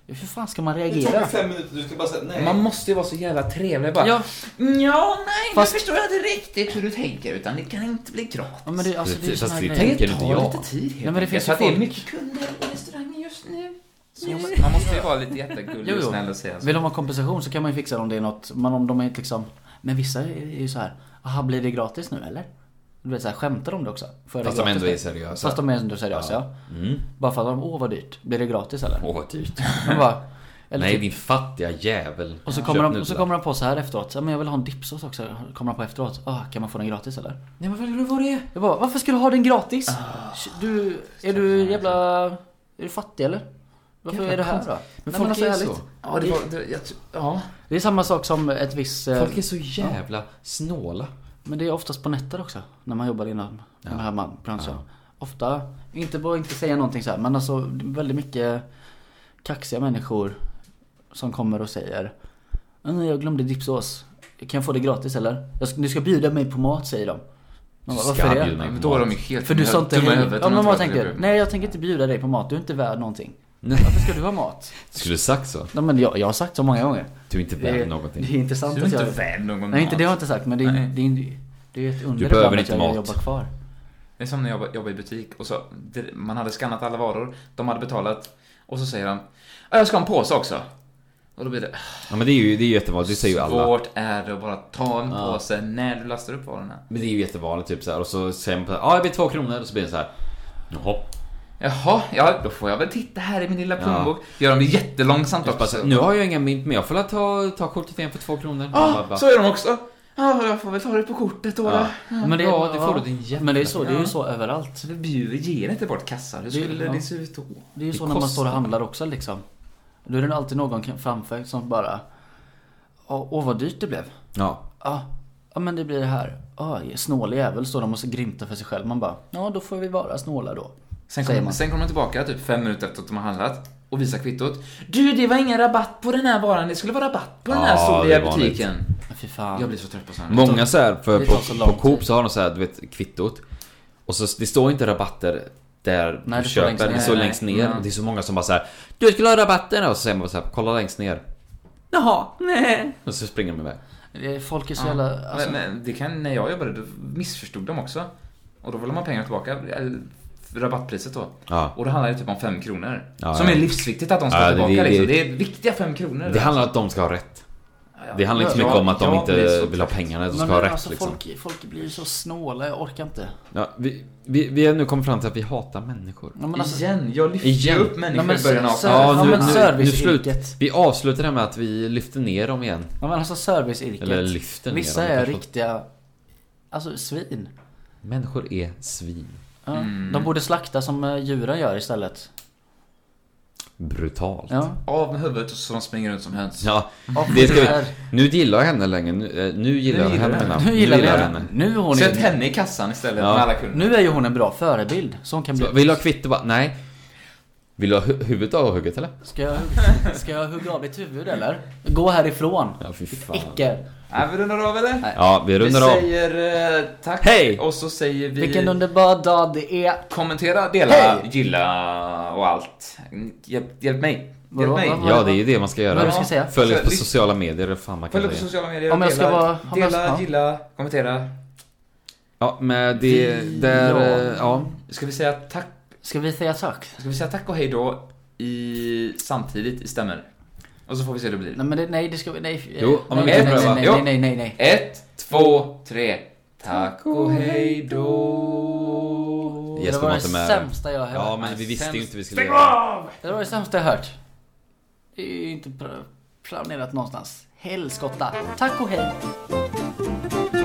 Hur fan ska man reagera? fem minuter, du ska bara säga nej. Man måste ju vara så jävla trevlig bara. Ja, Ja, nej, Fast- nu förstår jag inte riktigt hur du tänker, utan det kan inte bli gratis. ja men det, alltså, det är ju Fast såna här det grejer. tänker Det inte tar jag. lite tid helt Ja, men det enkelt, finns för ju att det är folk- mycket kunder på restaurangen just nu. Så man måste- Man måste ju vara lite jättegullig Jo, och jo. snäll och säga så. Vill de ha kompensation så kan man ju fixa det om det är något. Men om de är inte liksom. Men vissa är ju så här. Aha, blir det gratis nu eller? Du vet så här, skämtar de det också? Får jag det Fast de gratis ändå nu? är seriösa. Fast de är ändå seriösa ja. Mm. Bara för att de, åh vad dyrt. Blir det gratis eller? Åh, vad dyrt. Man bara, eller Nej, typ, din fattiga jävel. och så, Köp kommer de, och så nudlar. kommer de på så här efteråt, ja, men jag vill ha en dipsås också. Kommer de på efteråt, ah, kan man få den gratis eller? Nej, men vad vill du vad det är? Jag bara, varför ska du ha den gratis? Ah, Du, är du jävla... Är du fattig eller? Varför Jävla är det här konst- då? Men Nej, folk alltså, är ärligt. så. Ja, det var, det, jag, tror- ja. Det är samma sak som ett visst... eh, Folk är så jävla snåla. Men det är oftast på nätter också. När man jobbar inom den här man- branschen. Ofta, inte bara inte säga någonting så här, men alltså det är väldigt mycket kaxiga människor som kommer och säger "Nej, Jag glömde dipsås. Kan jag få det gratis eller? Jag ska, du ska bjuda mig på mat säger de. Man Du bara, ska "Varför det?" bjuda mig Men på då är mat. de ju helt För du sa inte dumma i hej. huvudet Ja om de men man tror att det tänker, blir- nej jag tänker inte bjuda dig på mat, du är inte värd någonting. Nej. Varför ska du ha mat? Skulle du sagt så? Nej men jag, jag har sagt så många gånger. Du är inte Det, värd är- det någonting. är intressant Du är att inte jag... värd någon Nej inte det mat. har jag inte sagt men det är, Nej. det är, det är ett under behöver ibland inte att jag mat. jobbar kvar. Det är som när jag jobbade- jobbade i butik och så, det- man hade skannat alla varor, de hade betalat och så säger han "Ja, jag ska ha en påse också. Och då blir det, Ja, men det är ju, det är ju jättevanligt. Det säger ju alla. svårt är det att bara ta en påse när du lastar upp varorna. Men det är ju jättevanligt typ så här. Och så säger man på ja det blir två kronor. Och så blir det så här. Jaha. Jaha, ja då får jag väl titta här i min lilla plånbok. Gör de det jättelångsamt Jag Typ bara, så här, också. nu har jag inga mynt men jag får väl ta, ta kortet igen för två kronor. Man bara, ah, bara, så gör de också. Ja, jag får väl ta det på kortet då. Ja. Ja. Men det, Ja, det får du, din jävla- Men det är, så, det är ju så överallt. Så det bjuder, ger inte bort kassan. Hur skulle ja. det se ut då? Det är ju Det så när man kostar. står och handlar också liksom. Då är det alltid någon kan- framför som bara... "Ja, Åh vad dyrt det blev. Ja. Ja, Ja men det blir det här. Ah, snålig jävel står de och så grymtar för sig själv. Man bara, ja då får vi vara snåla då. Sen Säger kommer man. sen kom de tillbaka typ fem minuter efter att de har handlat och visar kvittot. Du, det var ingen rabatt på den här varan. Det skulle vara rabatt på den här Ja, soliga det är vanligt. butiken. Ja, Fy fan. Jag blir så trött på sånt. Många så här, för Det på, tar så lång på Coop tid. så har de så här, du vet, kvittot. Och så, det står inte rabatter där Nej, du det står köper, längst det ner. står Nej, längst nej. ner. Ja. Och det är så många som bara så här, Du skulle ha rabatten! Och så säger man bara så här, kolla längst ner. Jaha, nej. Och så springer de iväg. Det är- Folk är så jävla... Alltså, men, men det kan, när jag jobbade, då missförstod de också. Och då vill man pengarna tillbaka. eller Rabattpriset då. Ja. Och då handlar det typ om fem kronor. Ja, som ja. är livsviktigt att de ska Ja, det- tillbaka det- liksom. det- Det är viktiga fem kronor. Det handlar om att de ska ha rätt. Det handlar inte så mycket Ja, om att de ja, det är inte så vill ha trött. pengarna, de ska men, ha men rätt alltså liksom. folk, folk blir ju så snåla, jag orkar inte. Ja, vi, vi, vi har nu kommit fram till att vi hatar människor. Ja, men alltså, Igen, jag lyfter Igen. upp människor Nej, men i början av så- så- avsnittet. ja, men serviceyrket. Vi avslutar det med att vi lyfter ner dem igen. ja, men alltså serviceyrket. Eller lyften ner Vissa dem, är kanske. riktiga... Alltså svin. Människor är svin. Ja. De borde slakta som eh, djuren gör istället. Brutalt. Ja. Av med huvudet och så de springer runt som höns. Ja, Ja, det ska vi. tyvärr. Nu gillar jag henne längre. Nu, eh, nu gillar jag gillar henne. jag henne. menar jag. Nu gillar vi jag henne. Nu är hon Sätt ju... henne i kassan istället Ja. med alla kunder. Nu är ju hon en bra förebild. Så hon kan Så, bli... Vill du ha kvitto? Bara, Nej. Vill du ha hu- huvudet avhugget eller? Ska jag, hugga- ska jag hugga av ditt huvud eller? Gå härifrån. Ja, fy fan. Icke. Är vi rundar av eller? Ja, vi Vi rundar av. säger eh, tack Hej! och så säger vi Vilken underbar dag det är. kommentera, dela, Hej! gilla och allt. Hjälp, hjälp mig. Hjälp Vadå, mig. vad- vad- Ja, det är ju det man ska Vad göra. du ska säga? Följ oss på Så- sociala medier. eller fan man Följ kan upp på säga. sociala medier. Om jag ska dela, vara- om jag dela ska- ja. gilla, kommentera. Ja, men det... Där... Ja. eh, Ja. Ska vi säga tack? Ska vi säga tack? Ska vi säga tack och hej då i samtidigt i stämmer? Och så får vi se hur det blir. Nej men det, nej det ska vi, nej. Jo, om nej, vi nej, kan nej, pröva. nej, Jo. nej, nej, nej, nej. Ett, två, tre. Tack och hej då. Det Jesper var var det inte med. sämsta jag har hört. Ja, men vi visste ju inte vi skulle Stäng göra av! Det var det sämsta jag har hört. Det är ju inte pr- planerat någonstans. Helskotta. Tack och hej. det.